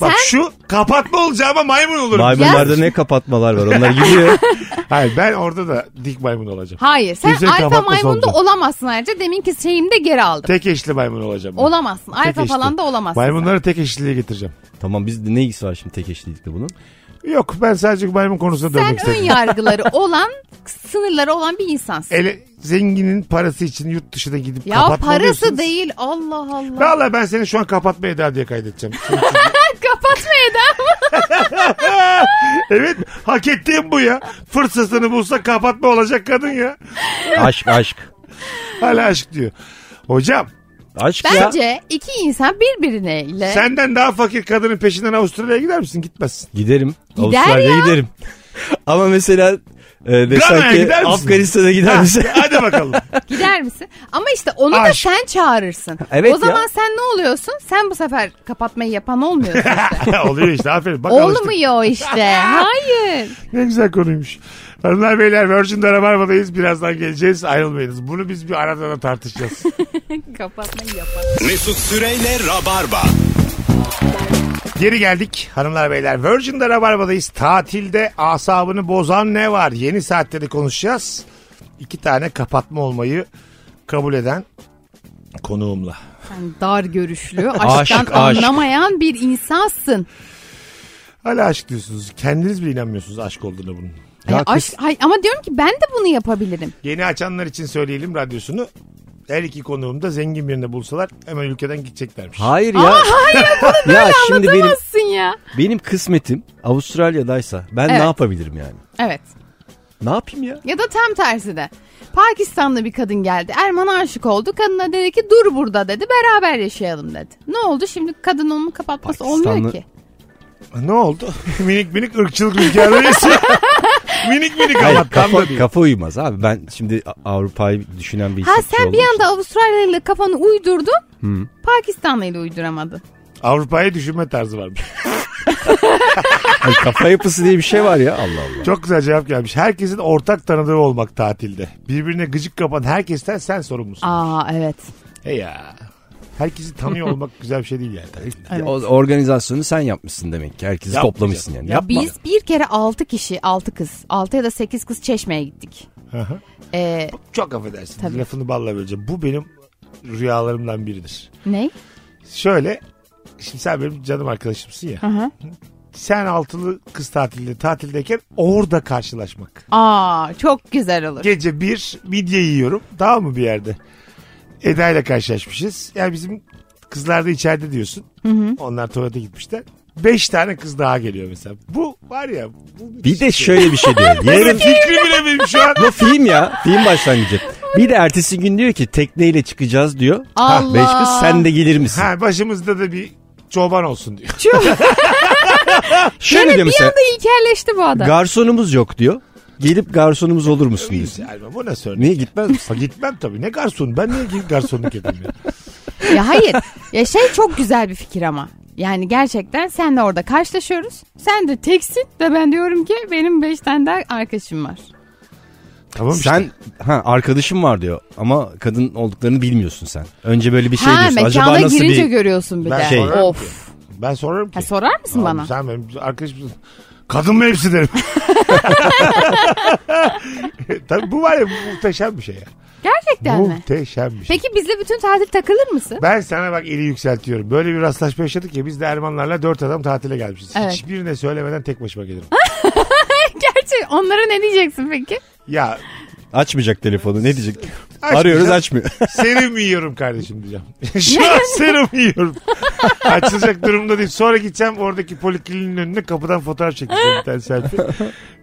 Bak Sen- şu kapatma olacağıma maymun olurum. Maymunlarda ne kapatmalar var onlar gidiyor. Hayır ben orada da dik maymun olacağım. hayır sen Yüzüğü alfa kapatması maymun da olacak. olamazsın ayrıca deminki şeyimi de geri aldım Tek eşli maymun olacağım. ben. olamazsın alfa eşli. falan da olamazsın Maymunları tek eşliliğe getireceğim. tamam biz de ne ilgisi var şimdi tek eşlilikle bunun? Yok ben sadece maymun konusuna dönmek sen ön istedim. E, yargıları olan sınırları olan bir insansın Ele, zenginin parası için yurt dışına gidip ya parası kapatmalıyorsunuz. değil Allah Allah Valla ben seni şu an kapatma Eda diye kaydedeceğim. kapatma Eda evet hak ettiğim bu ya. Fırsatını bulsa kapatma olacak kadın ya. Aşk aşk. Hala aşk diyor. Hocam Aşk ya. Bence iki insan birbirine senden daha fakir kadının peşinden Avustralya'ya gider misin? Gitmezsin. Giderim. Gider Avustralya'ya ya. giderim. Ama mesela e, desen Gana'ya ki gider misin? Afganistan'a gider Ha, misin? E, Hadi bakalım. gider misin? Ama işte onu da Aşk. sen çağırırsın. Evet o zaman ya. sen ne oluyorsun? Sen bu sefer kapatmayı yapan olmuyorsun. Oluyor işte aferin. Bak alıştık. Olmuyor işte. Hayır. Ne güzel konuymuş. Hanımlar beyler Virgin'de Rabarba'dayız. Birazdan geleceğiz. Ayrılmayınız. Bunu biz bir arada da tartışacağız. kapatmayı yapan. Mesut Süreyle Rabarba. Geri geldik hanımlar beyler. Virgin'de Rabarba'dayız. Tatilde asabını bozan ne var? Yeni saatleri konuşacağız. İki tane kapatma olmayı kabul eden konuğumla. Sen dar görüşlü, aşktan Aşık, aşık. anlamayan bir insansın. Hala aşk diyorsunuz. Kendiniz bile inanmıyorsunuz aşk olduğuna bunun. Ya Ya kız- aşk- Ay, ama diyorum ki ben de bunu yapabilirim. Yeni açanlar için söyleyelim radyosunu. Her iki konuğum da zengin birini bulsalar hemen ülkeden gideceklermiş. Hayır ya. ya şimdi benim Nasılsın ya? benim kısmetim Avustralya'daysa ben Evet. ne yapabilirim yani? Evet. Ne yapayım ya? Ya da tam tersi de. Pakistanlı bir kadın geldi. Erman'a aşık oldu. Kadına dedi ki dur burada dedi. Beraber yaşayalım dedi. Ne oldu? Şimdi kadın onun kapatması olmuyor Pakistanlı- ki. Ne oldu? minik minik ırkçılık rüzgarları esiyor. minik minik Hayır, ama tam da kafa, değil. kafa uyumaz abi. Ben şimdi A- Avrupa'yı düşünen bir Ha insan sen bir anda Avustralya ile kafanı uydurdun. Pakistanlı ile uyduramadın. Avrupa'yı düşünme tarzı varmış. kafa yapısı diye bir şey var ya. Allah Allah. Çok güzel cevap gelmiş. Herkesin ortak tanıdığı olmak tatilde. Birbirine gıcık kapan herkesten sen sorumlusun. Aa evet. He ya. Herkesi tanıyor olmak güzel bir şey değil yani. tatilde. Ya, o- organizasyonu sen yapmışsın demek ki. Herkesi Yapmayacağım. toplamışsın yani. Ya biz bir kere 6 kişi, 6 kız, 6 ya da 8 kız çeşmeye gittik. hı. Ee, Çok affedersin. Tabii. Lafını balla böleceğim. Bu benim rüyalarımdan biridir. ne? Şöyle. Şimdi sen benim canım arkadaşımsın ya. Sen altılı kız tatilde tatildeyken orada karşılaşmak. Aa çok güzel olur. Gece bir midye yiyorum. Tamam mı bir yerde? Eda ile karşılaşmışız. Yani bizim kızlar da içeride diyorsun. Onlar tuvalete gitmişler. Beş tane kız daha geliyor mesela. Bu var ya. Bu Bir de şöyle bir şey diyor. Benim Yarın fikri bile benim şu an. bu film ya. Film başlangıcı. Bir de ertesi gün diyor ki tekneyle çıkacağız diyor. Ha, Allah. Beş kız sen de gelir misin? Ha, başımızda da bir çoban olsun diyor. Şöyle Gene bir diyor mesela. anda ilkelleşti bu adam. Garsonumuz yok diyor. Gelip garsonumuz olur musun diyor. Güzel bu nasıl örnek? Niye gitmez misin? Ha, gitmem tabii. Ne garson? Ben niye gidip garsonluk edeyim ya? ya hayır. Ya şey çok güzel bir fikir ama. Yani gerçekten senle orada karşılaşıyoruz. Sen de teksin ve ben diyorum ki benim 5 tane daha arkadaşım var. Tamam işte. Sen ha arkadaşım var diyor ama kadın olduklarını bilmiyorsun sen. Önce böyle bir şey ha diyorsun. mekana Acaba nasıl girince bir görüyorsun bir Ben de. şey- Of. Ben sorarım ki. Ha, sorar mısın Abi bana? Sen benim arkadaşımsın. Kadın mı hepsi derim. Tabii bu var ya bu muhteşem bir şey ya. Gerçekten mi? muhteşem bir şey. Peki bizle bütün tatil takılır mısın? Ben sana bak eli yükseltiyorum. Böyle bir rastlaşma yaşadık ya biz de Ermanlarla dört adam tatile gelmişiz. Evet. Hiçbirine söylemeden tek başıma gelirim. Gerçi onlara ne diyeceksin peki? ya açmayacak telefonu ne diyecek? Açmayacak. Arıyoruz açmıyor. serum yiyorum kardeşim diyeceğim. Şu an serum yiyorum. Açılacak durumda değil. Sonra gideceğim oradaki polikliniğin önüne kapıdan fotoğraf çekeceğim bir tane selfie.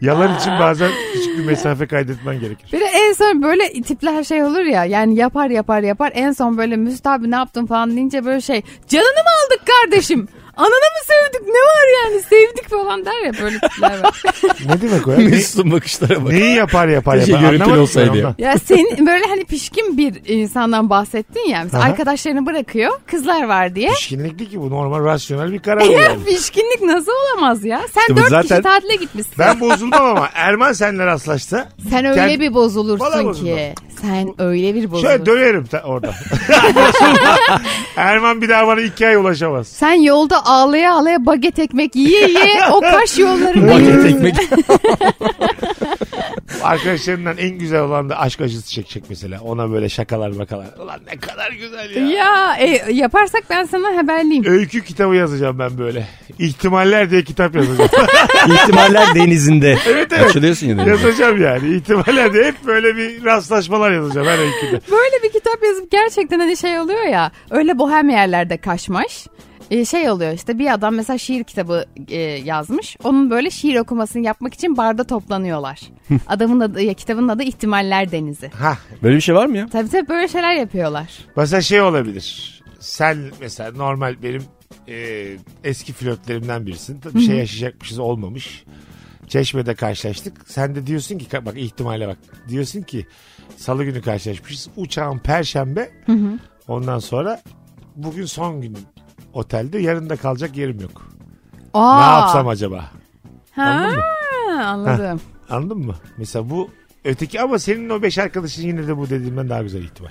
Yalan için bazen küçük bir mesafe kaydetmen gerekir. Bir de en son böyle tipler şey olur ya yani yapar yapar yapar en son böyle Müst abi ne yaptın falan deyince böyle şey canını mı aldık kardeşim? Ananı mı sevdik ne var yani sevdik falan der ya böyle tipler var. Ne demek o ya? Ne- Mesut'un bakışlara bak. Neyi yapar yapar Keşke yapar. görüntülü Anlamadım olsaydı ben ya. ondan. ya senin böyle hani pişkin bir insandan bahsettin ya mesela Aha. arkadaşlarını bırakıyor kızlar var diye. Pişkinlik değil ki bu normal rasyonel bir karar bu Ya yani. pişkinlik nasıl olamaz ya? Sen İşte bu dört kişi zaten- tatile gitmişsin. Ben bozuldum ama Erman senle rastlaşsa Sen öyle Kend- bir Valla bozulursun bozulmam. ki. Sen öyle bir şöyle bozulursun. dönerim ta- orada. Erman bir daha bana iki ay ulaşamaz. Sen yolda ağlaya ağlaya baget ekmek yiye yiye o kaş yollarında Paket yürürsün. ekmek. Arkadaşlarından en güzel olan da aşk acısı çekecek mesela. Ona böyle şakalar makalar. Ulan ne kadar güzel ya. Ya e, yaparsak ben sana haberliyim. Öykü kitabı yazacağım ben böyle. İhtimaller diye kitap yazacağım. İhtimaller denizinde. evet. Açılıyorsun ya denize. yazacağım yani. İhtimaller diye hep böyle bir rastlaşmalar yazacağım her öyküde. Böyle bir kitap yazıp gerçekten hani şey oluyor ya. Öyle bohem yerlerde kaşmaş. E, şey oluyor işte bir adam mesela şiir kitabı e, yazmış. Onun böyle şiir okumasını yapmak için barda toplanıyorlar. Adamın adı, ya, kitabın adı İhtimaller Denizi. Hah Böyle bir şey var mı ya? Tabii tabii böyle şeyler yapıyorlar. Mesela şey olabilir. Sen mesela normal benim e, eski flörtlerimden birisin. Bir şey yaşayacakmışız olmamış. Çeşme'de karşılaştık. Sen de diyorsun ki bak ihtimale bak. Diyorsun ki salı günü karşılaşmışız. Uçağın perşembe. Ondan sonra bugün son günüm otelde. Yarın da kalacak yerim yok. Aa, Ne yapsam acaba? ha, Anladın mı? Anladım. Anladın mı? Mesela bu öteki ama senin o beş arkadaşın yine de bu dediğimden daha güzel ihtimal.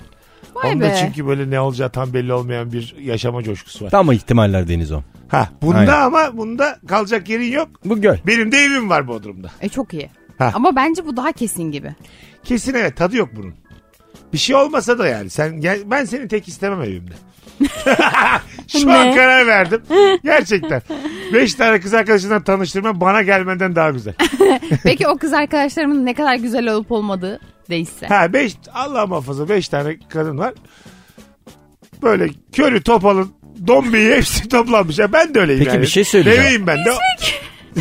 Vay Onda be. çünkü böyle ne olacağı tam belli olmayan bir yaşama coşkusu var. Tam o ihtimaller deniz o. Ha bunda Aynen. ama bunda kalacak yerin yok. Bu göl. Benim de evim var Bodrum'da. E çok iyi. Ha. Ama bence bu daha kesin gibi. Kesin evet tadı yok bunun. Bir şey olmasa da yani sen gel, ben seni tek istemem evimde. Şu an Ne? karar verdim. Gerçekten. Beş tane kız arkadaşından tanıştırma bana gelmenden daha güzel. Peki o kız arkadaşlarımın ne kadar güzel olup olmadığı değişse. Ha beş Allah muhafaza beş tane kadın var. Böyle körü topalı dombiyi hepsi toplanmış. Ya ben de öyleyim Peki yani. bir şey söyleyeceğim. Deveyim ben de.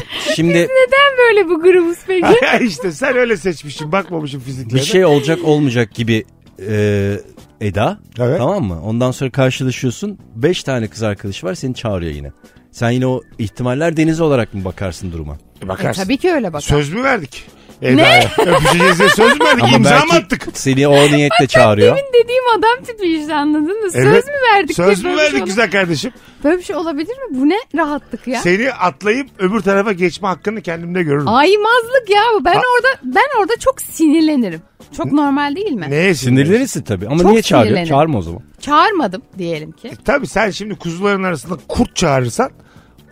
Şimdi Neden böyle bu grubuz peki? işte sen öyle seçmişsin bakmamışım fiziklerine. bir şey olacak olmayacak gibi e, Eda Evet. tamam mı? Ondan sonra karşılaşıyorsun. Beş tane kız arkadaşı var seni çağırıyor yine. Sen yine o ihtimaller denizi olarak mı bakarsın duruma? E, Bakarsın. tabii ki öyle bak. Söz mü verdik? Eda'ya? Öpüşeceğiz söz mü verdik? İmza mı attık? seni o niyetle çağırıyor. Demin dediğim adam tipi işte anladın mı? Söz Evet. mü verdik? diye Söz mü böyle bir şey verdik olur- güzel kardeşim? Böyle bir şey olabilir mi? Bu ne rahatlık ya? Seni atlayıp öbür tarafa geçme hakkını kendimde görürüm. Aymazlık ya bu. Ben Ha. orada ben orada çok sinirlenirim. Çok normal değil mi? Neye sinirlenirsin? Sinirlenirsin tabii ama Çok niye çağırıyor? sinirlenirim. Çağırma o zaman. Çağırmadım diyelim ki. E, Tabii sen şimdi kuzuların arasında kurt çağırırsan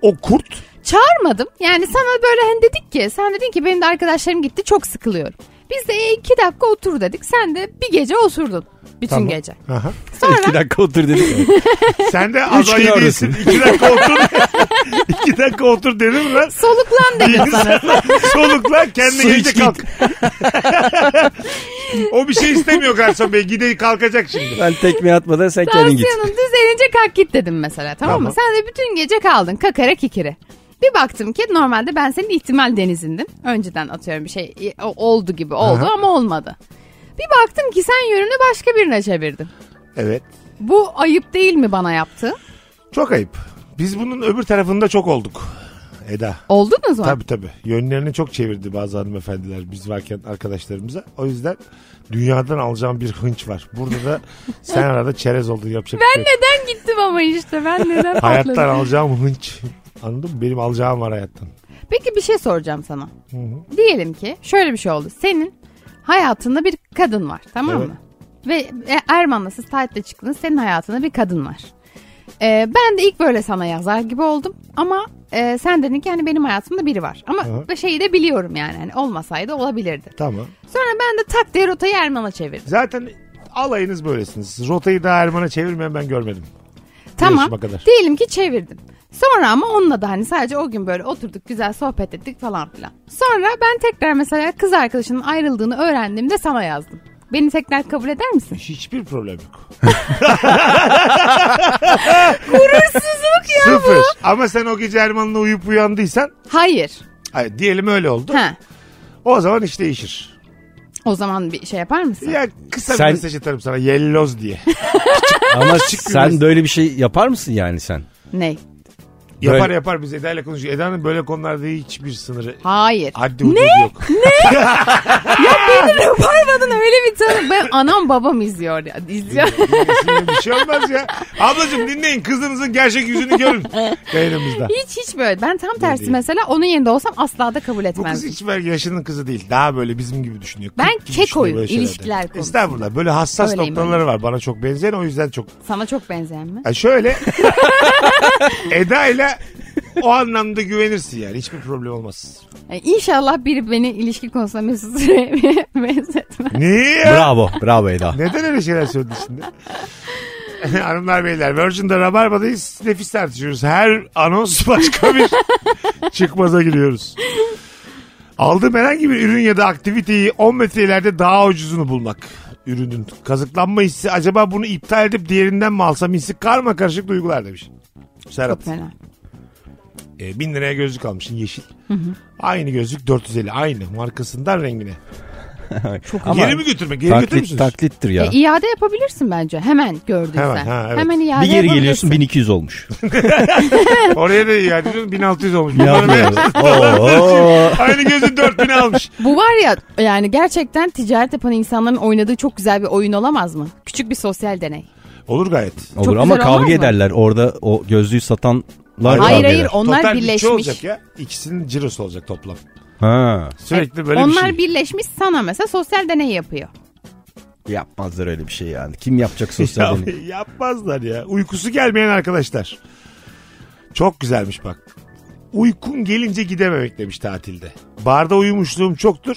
o kurt Çağırmadım. Yani sana böyle hani dedik ki sen dedin ki benim de arkadaşlarım gitti çok sıkılıyorum. Biz de "E, iki dakika otur dedik. Sen de bir gece osurdun. Bütün Tamam. gece. Aha. İki dakika otur dedik. sen de Üç gün adayı oradasın. değilsin. İki dakika otur. İki dakika otur dedim lan. Soluklan dedim sana. Solukla kendine Su iç gelince git. kalk. o bir şey istemiyor garson bey. Gideyim kalkacak şimdi. ben tekme atmadan sen kendin git. Tansiyonun düzelince kalk git dedim mesela tamam, mı? Tamam. Sen de bütün gece kaldın kakara kikiri. Bir baktım ki normalde ben senin ihtimal denizindim. Önceden atıyorum bir şey e, o- oldu gibi oldu ama olmadı. Bir baktım ki sen yönünü başka birine çevirdin. Evet. Bu ayıp değil mi bana yaptı? Çok ayıp. Biz bunun öbür tarafında çok olduk. Eda. Oldunuz mu? Tabii tabii. Yönlerini çok çevirdi bazı hanımefendiler biz varken arkadaşlarımıza. O yüzden dünyadan alacağım bir hınç var. Burada da sen arada çerez oldun yapacak Ben bir şey yok. neden gittim ama işte ben neden Hayattan patladım? alacağım hınç. Anladın mı? Benim alacağım var hayattan. Peki bir şey soracağım sana. Hı hı. Diyelim ki şöyle bir şey oldu. Senin Hayatında bir kadın var tamam Evet. mı? Ve e, Erman'la siz tatile çıktınız senin hayatında bir kadın var. Ee, ben de ilk böyle sana yazar gibi oldum ama e, sen dedin ki yani benim hayatımda biri var. Ama Aha. şeyi de biliyorum yani hani olmasaydı olabilirdi. Tamam. Sonra ben de tak diye rotayı Erman'a çevirdim. Zaten alayınız böylesiniz. Rotayı daha Erman'a çevirmeyen ben görmedim. Tamam yaşıma kadar. diyelim ki çevirdim. Sonra ama onunla da hani sadece o gün böyle oturduk güzel sohbet ettik falan filan. Sonra ben tekrar mesela kız arkadaşının ayrıldığını öğrendiğimde sana yazdım. Beni tekrar kabul eder misin? Hiçbir problem yok. Gurursuzluk ya bu. Sıfır. Ama sen o gece Erman'la uyup uyandıysan Hayır. hayır, diyelim öyle oldu. Ha. O zaman iş değişir. O zaman bir şey yapar mısın? Ya kısa Sen- bir mesaj atarım sana yelloz diye. Ama sen böyle bir şey yapar mısın yani sen? Ney? Yapar Böyle- yapar biz Eda'yla konuşuyoruz. Eda'nın böyle konularda hiçbir sınırı. Hayır. Haddi hududu yok. Beni Rabarba'dan öyle bir tanı. Ben anam babam izliyor ya. İzliyor. Sinirli bir şey olmaz ya. Ablacığım dinleyin kızınızın gerçek yüzünü görün yayınımızda. hiç hiç böyle. Ben tam tersi değil. mesela onun yerinde olsam asla da kabul Bu kız etmezdim. hiç böyle yaşının kızı değil. Daha böyle bizim gibi düşünüyor. Ben Kırk gibi düşünüyor kekoyum, böyle şeylerde. ilişkiler konusunda. Estağfurullah. Böyle hassas Öyleyim, noktaları var. Bana çok benzeyen o yüzden çok. Sana çok benzeyen mi? Yani şöyle. Eda ile o anlamda güvenirsin yani. Hiçbir problem olmaz. Yani E, inşallah biri beni ilişki konusunda mesut Süreyya'ya benzetmez. Niye ya? Bravo. Bravo Eda. Neden öyle şeyler söyledin şimdi? Hanımlar beyler Virgin'de Rabarba'dayız. Nefis tartışıyoruz. Her anons başka bir çıkmaza giriyoruz. Aldığım herhangi bir ürün ya da aktiviteyi 10 metre ileride daha ucuzunu bulmak. Ürünün kazıklanma hissi acaba bunu iptal edip diğerinden mi alsam hissi karma karışık duygular demiş. Serhat. Çok fena. E, bin liraya gözlük almışsın yeşil. Aynı gözlük 450 aynı markasından rengine. Çok geri mi götürmek? Geri götürür Taklit, müsünüz? taklittir ya. E, iade yapabilirsin bence. Hemen gördüysen. Hemen, ha, evet. Hemen iade bir geri yapabilirsin. geliyorsun 1200 olmuş. Oraya da iade ediyorsun 1600 olmuş. Ne Bunları ben- yapıyor? Oo. Aynı gözün 4000 almış. Bu var ya yani gerçekten ticaret yapan insanların oynadığı çok güzel bir oyun olamaz mı? Küçük bir sosyal deney. Olur gayet. Olur güzel ama olmaz kavga mı? ederler. Orada o gözlüğü satanlar kavga Hayır eder. hayır onlar Total bütçe birleşmiş. olacak ya. İkisinin cirosu olacak toplam. Ha. Sürekli böyle Onlar bir şey. birleşmiş sana mesela sosyal deney yapıyor. Yapmazlar öyle bir şey yani. Kim yapacak sosyal deney? Ya yapmazlar ya. Uykusu gelmeyen arkadaşlar. Çok güzelmiş bak. Uykun gelince gidememek demiş tatilde. Barda uyumuşluğum çoktur.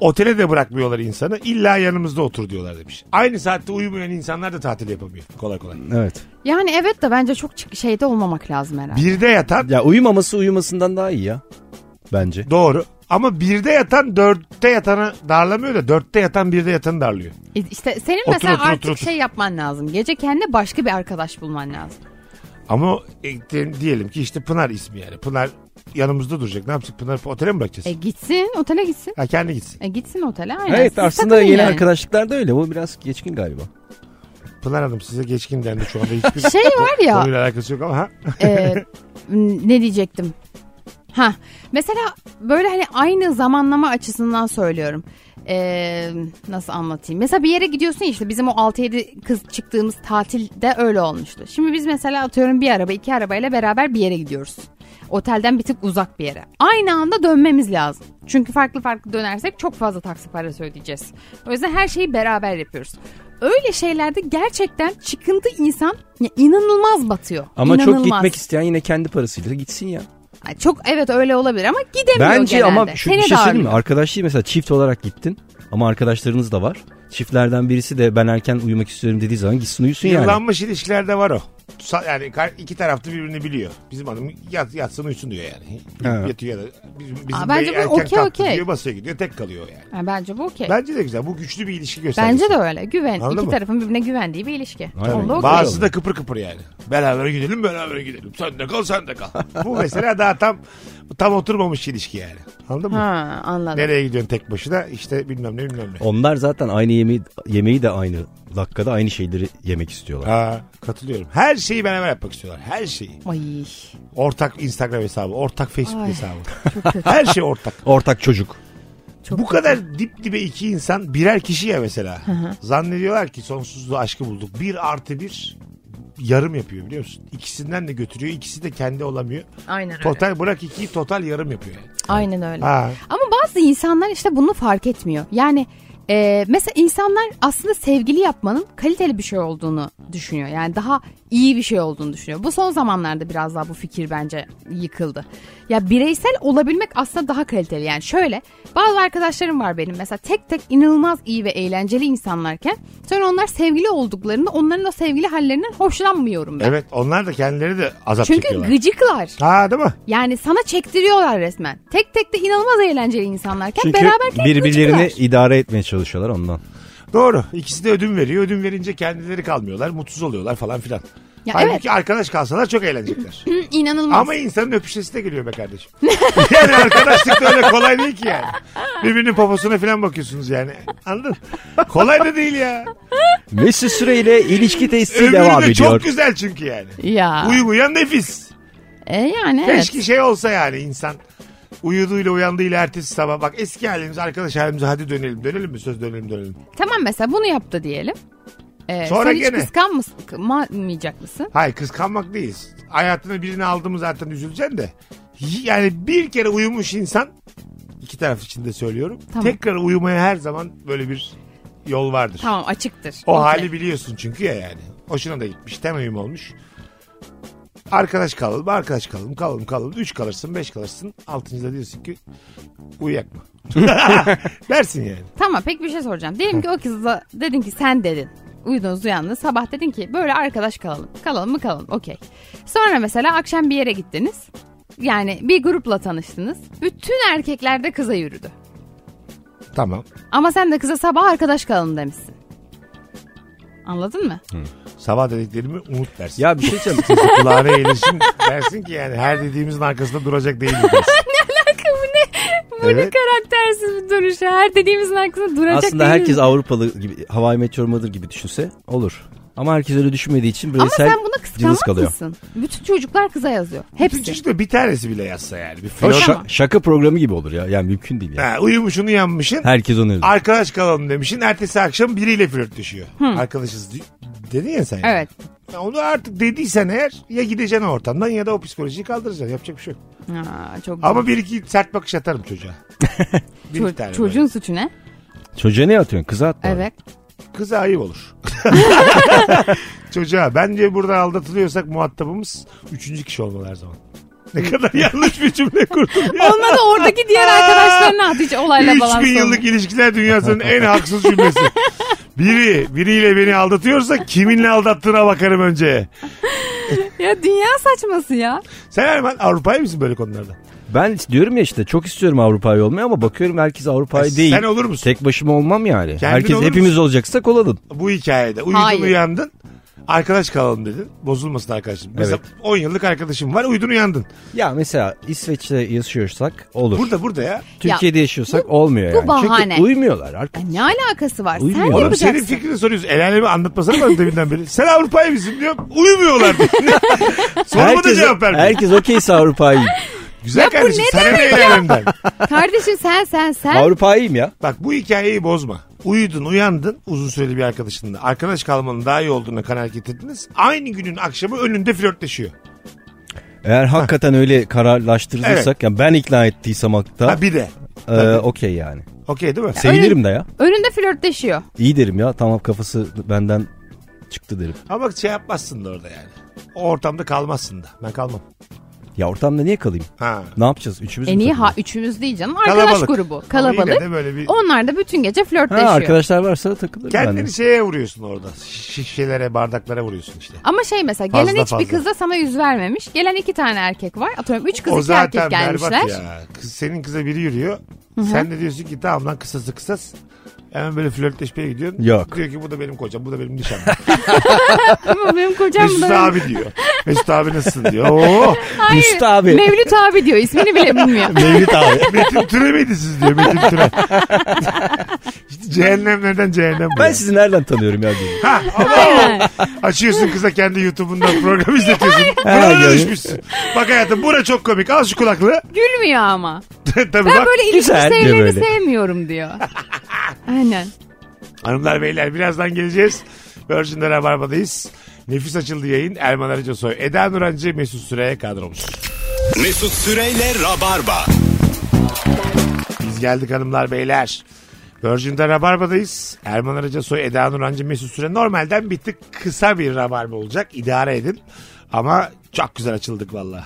Otele de bırakmıyorlar insanı. İlla yanımızda otur diyorlar demiş. Aynı saatte uyumayan insanlar da tatil yapamıyor. Kolay kolay. Evet. Yani evet de bence çok çık- şeyde olmamak lazım herhalde. Birde yatan Ya uyumaması uyumasından daha iyi ya. Bence. doğru. Ama birde yatan dörtte yatanı darlamıyor da dörtte yatan birde yatanı darlıyor. E, İşte senin Otur, mesela otur, artık otur, otur. şey yapman lazım. Gece kendine başka bir arkadaş bulman lazım. Ama e, de- diyelim ki işte Pınar ismi yani. Pınar yanımızda duracak. Ne yapacak? Pınar otele mi bırakacağız? E gitsin otele gitsin. ha kendi gitsin. E gitsin otele aynen. Evet Siz aslında takılın yeni yani. arkadaşlıklar da öyle. O biraz geçkin galiba. Pınar Hanım size geçkin dendi şu anda. Hiçbir Şey var ya. konuyla alakası yok ama ha. e, ne diyecektim? Ha mesela böyle hani aynı zamanlama açısından söylüyorum. E, nasıl anlatayım? Mesela bir yere gidiyorsun ya işte bizim o 6-7 kız çıktığımız tatilde öyle olmuştu. Şimdi biz mesela atıyorum bir araba iki arabayla beraber bir yere gidiyoruz. Otelden bir tık uzak bir yere. Aynı anda dönmemiz lazım. Çünkü farklı farklı dönersek çok fazla taksi parası ödeyeceğiz. O yüzden her şeyi beraber yapıyoruz. Öyle şeylerde gerçekten çıkıntı insan ya inanılmaz batıyor. Ama çok İnanılmaz. gitmek isteyen yine kendi parasıyla gitsin ya. Ay, Çok evet öyle olabilir ama gidemiyor Bence genelde. ama şu bir Seni şey söyleyeyim mi? darlıyor. Arkadaşlığı mesela çift olarak gittin ama arkadaşlarınız da var. Çiftlerden birisi de ben erken uyumak istiyorum dediği zaman gitsin uyusun Şey yani. Yıllanmış ilişkilerde var o. Sa- Yani kar- iki tarafta birbirini biliyor. Bizim hanım yat, yatsın uyusun diyor yani. Ha. Yatıyor ya da bizim, bizim Aa, bence bey bu erken okey, kalktı okey. diyor basıyor gidiyor tek kalıyor yani. Ha, bence bu okey. Bence de güzel. Bu güçlü bir ilişki göstergesi. Bence de öyle. Güven. Anladın iki mı? tarafın birbirine güvendiği bir ilişki. Aynen. Onda okey. Bazısı da kıpır kıpır yani. Beraber gidelim beraber gidelim. Sen de kal sen de kal. Bu mesela daha tam tam oturmamış ilişki yani. Anladın mı? Ha anladım. Nereye gidiyorsun tek başına? İşte bilmem ne bilmem ne. Onlar zaten aynı yemeği, yemeği de aynı dakikada aynı şeyleri yemek istiyorlar. Ha, katılıyorum. Her şeyi beraber yapmak istiyorlar. Her şeyi. Ay Ortak Instagram hesabı, ortak Facebook Ay. hesabı. çok kötü. Her şey ortak. Ortak çocuk. Çok Bu kadar dip dibe iki insan birer kişi ya mesela. Zannediyorlar ki sonsuzluğu aşkı bulduk. Bir artı bir yarım yapıyor biliyor musun? İkisinden de götürüyor. İkisi de kendi olamıyor. Aynen öyle. Total bırak ikiyi total yarım yapıyor. yani. Aynen öyle. Ha. Ama bazı insanlar işte bunu fark etmiyor. Yani Ee, mesela insanlar aslında sevgili yapmanın kaliteli bir şey olduğunu düşünüyor. Yani daha iyi bir şey olduğunu düşünüyor. Bu son zamanlarda biraz daha bu fikir bence yıkıldı. Ya bireysel olabilmek aslında daha kaliteli. Yani şöyle bazı arkadaşlarım var benim mesela tek tek inanılmaz iyi ve eğlenceli insanlarken sonra onlar sevgili olduklarında onların o sevgili hallerinden hoşlanmıyorum ben. Evet onlar da kendileri de azap Çünkü çekiyorlar. gıcıklar. Ha değil mi? Yani sana çektiriyorlar resmen. Tek tek de inanılmaz eğlenceli insanlarken Çünkü beraberken birbirlerini gıcıklar. idare etmeye çalışıyorlar ondan. Doğru. İkisi de ödün veriyor. Ödün verince kendileri kalmıyorlar. Mutsuz oluyorlar falan filan. Ya Halbuki evet. Hmm. arkadaş kalsalar çok eğlenecekler. Hı, inanılmaz. Ama insanın öpüşesi de geliyor be kardeşim. yani arkadaşlık da öyle kolay değil ki yani. Birbirinin poposuna falan bakıyorsunuz yani. Anladın? Kolay da değil ya. Mesut Süre ile ilişki testi devam Ömrü de ediyor. çok güzel çünkü yani. Ya. Uyuyan nefis. E yani evet. Keşke şey olsa yani insan uyuduğuyla uyandığıyla ertesi sabah bak eski halimize arkadaş halimize hadi dönelim dönelim mi söz dönelim dönelim. Tamam mesela bunu yaptı diyelim. Ee, Sonra sen hiç gene. kıskanmayacak mısın? Hayır kıskanmak değiliz. Hayatına birini aldığımız zaten üzüleceksin de. Yani bir kere uyumuş insan iki taraf için de söylüyorum. Tamam. Tekrar uyumaya her zaman böyle bir yol vardır. Tamam açıktır. O Okey. hali biliyorsun çünkü ya yani. Hoşuna da gitmiş. Temayüm olmuş. Arkadaş kalalım, arkadaş kalalım, kalalım, kalalım. Üç kalırsın, beş kalırsın. Altıncıda diyorsun ki uyuyak mı? Dersin yani. Tamam pek bir şey soracağım. Diyelim ki o kızla dedin ki sen dedin. Uyudunuz uyandınız. Sabah dedin ki böyle arkadaş kalalım. Kalalım mı kalalım okey. Sonra mesela akşam bir yere gittiniz. Yani bir grupla tanıştınız. Bütün erkekler de kıza yürüdü. Tamam. Ama sen de kıza sabah arkadaş kalalım demişsin. Anladın mı? Sabah dediklerimi unut dersin. Ya bir şey söyleyeyim. Kulağına eğilirsin dersin ki yani her dediğimizin arkasında duracak değil dersin. bu ne? Bu ne Evet. karaktersiz bir duruşu. Her dediğimizin arkasında duracak Aslında değil herkes mi? Avrupalı gibi Hawaii Meteor Mother gibi düşünse olur. Ama herkes öyle düşünmediği için Ama bireysel sen buna cılız kıskanmaz kalıyor. mısın? Bütün çocuklar kıza yazıyor. Hepsi. Hepsi. Çocuk da bir tanesi bile yazsa yani. Bir O flört. şa- şaka programı gibi olur ya. Yani mümkün değil yani. Ha, uyumuşsun uyanmışsın. Herkes onu yazıyor. Arkadaş kalalım demişsin. Ertesi akşam biriyle flörtleşiyor. Arkadaşız di- dedin ya sen. yani. Evet. Ya Onu artık dediysen eğer ya gideceksin o ortamdan ya da o psikolojiyi kaldıracaksın. Yapacak bir şey yok. Aa, çok güzel. Ama bir iki sert bakış atarım çocuğa. bir iki Ço- tane çocuğun böyle. suçu ne? Çocuğa ne atıyorsun? Kıza at. bari. Evet. Kıza ayıp olur. çocuğa. Bence burada aldatılıyorsak muhatabımız üçüncü kişi olmalı her zaman. Ne kadar yanlış bir cümle kurdum ya. Onunla da oradaki diğer arkadaşlarına at hiç olayla balans 3000 yıllık ilişkiler dünyasının en haksız cümlesi. Biri, biriyle beni aldatıyorsa kiminle aldattığına bakarım önce. Ya dünya saçması ya. Sen Erman Avrupa'ya mısın böyle konularda? Ben diyorum ya işte çok istiyorum Avrupa'yı olmayı ama bakıyorum herkes Avrupa'yı E, değil. sen olur musun? Tek başıma olmam yani. Kendin herkes olur hepimiz musun? olacaksak olalım. bu hikayede uyudun Hayır. uyandın arkadaş kalalım dedin bozulmasın arkadaşım. Mesela 10 yıllık arkadaşım var uyudun uyandın. Ya mesela İsveç'te yaşıyorsak olur. Burada burada ya. Türkiye'de yaşıyorsak olmuyor bu yani. bahane. Çünkü uymuyorlar artık. Ay, E, Ne alakası var? Uyumuyor. Sen Oğlum Oğlum yapacaksın. senin fikrini soruyoruz. El alemi anlatmasana bana deminden beri. Sen Avrupa'ya mısın diyorum. Uyumuyorlar. diyor. Soruma da Herkes, cevap vermiyor. herkes okeyse Avrupa'yı. Güzel kardeşim. ne Sana ne el alemden? Kardeşim sen sen sen. Avrupa'yım ya. Bak bu hikayeyi bozma. Uyudun uyandın uzun süreli bir arkadaşınla. Arkadaş kalmanın daha iyi olduğuna kanaat getirdiniz. Aynı günün akşamı önünde flörtleşiyor. Eğer hakikaten öyle kararlaştırılırsak Evet. yani ben ikna ettiysem hatta Ha bir de. e, okey yani. Okey değil mi? Sevinirim de ya. Önünde flörtleşiyor. İyi derim ya tamam kafası benden çıktı derim. Ama bak şey yapmazsın da orada yani. O ortamda kalmazsın da. Ben kalmam. Ya ortamda niye kalayım? Ha. Ne yapacağız? Üçümüz En mü iyi E, ha takılacağız? üçümüz değil canım. Arkadaş Kalabalık. grubu. Ama Kalabalık. yine de böyle bir- Onlar da bütün gece flörtleşiyor. Ha, arkadaşlar varsa takılırım ben de. Kendini şeye vuruyorsun orada. Şişelere, bardaklara vuruyorsun işte. Ama şey mesela Fazla gelen hiçbir fazla. kız da sana yüz vermemiş. Gelen iki tane erkek var. Atıyorum üç kız o iki zaten erkek berbat gelmişler. ya. Kız, senin kıza biri yürüyor. Sen de diyorsun ki tamam lan kısası kısas. Hemen böyle flörtleşmeye gidiyorsun. Yok. Diyor ki bu da benim kocam, bu da benim nişanlım. Ama benim kocam Mesut da... abi diyor. Mesut abi nasılsın diyor. Oo. Hayır, Mesut abi. Mevlüt abi diyor. ismini bile bilmiyor. Mevlüt abi. Metin Türe miydi siz diyor Metin Türe. işte cehennemlerden cehennem bu. Ben ya. sizi nereden tanıyorum ya? diyorum. Ha, ama açıyorsun kıza kendi YouTube'undan program izletiyorsun. Ha, Buna gördün. düşmüşsün. Bak hayatım bura çok komik. Al şu kulaklığı. Gülmüyor ama. Tabii Ben bak. böyle ilişki Güzel diyor sayılarını böyle. sevmiyorum diyor. Aynen. Hanımlar beyler birazdan geleceğiz. Virgin'de Rabarba'dayız. Nefis açıldı yayın. Erman Arıca Soy, Eda Nurancı, Mesut Süre'ye kadromuz. Mesut Süreyle Rabarba. Biz geldik hanımlar beyler. Virgin'de Rabarba'dayız. Erman Arıca Soy, Eda Nurancı, Mesut Süre. Normalden bir tık kısa bir Rabarba olacak. İdare edin. Ama çok güzel açıldık valla.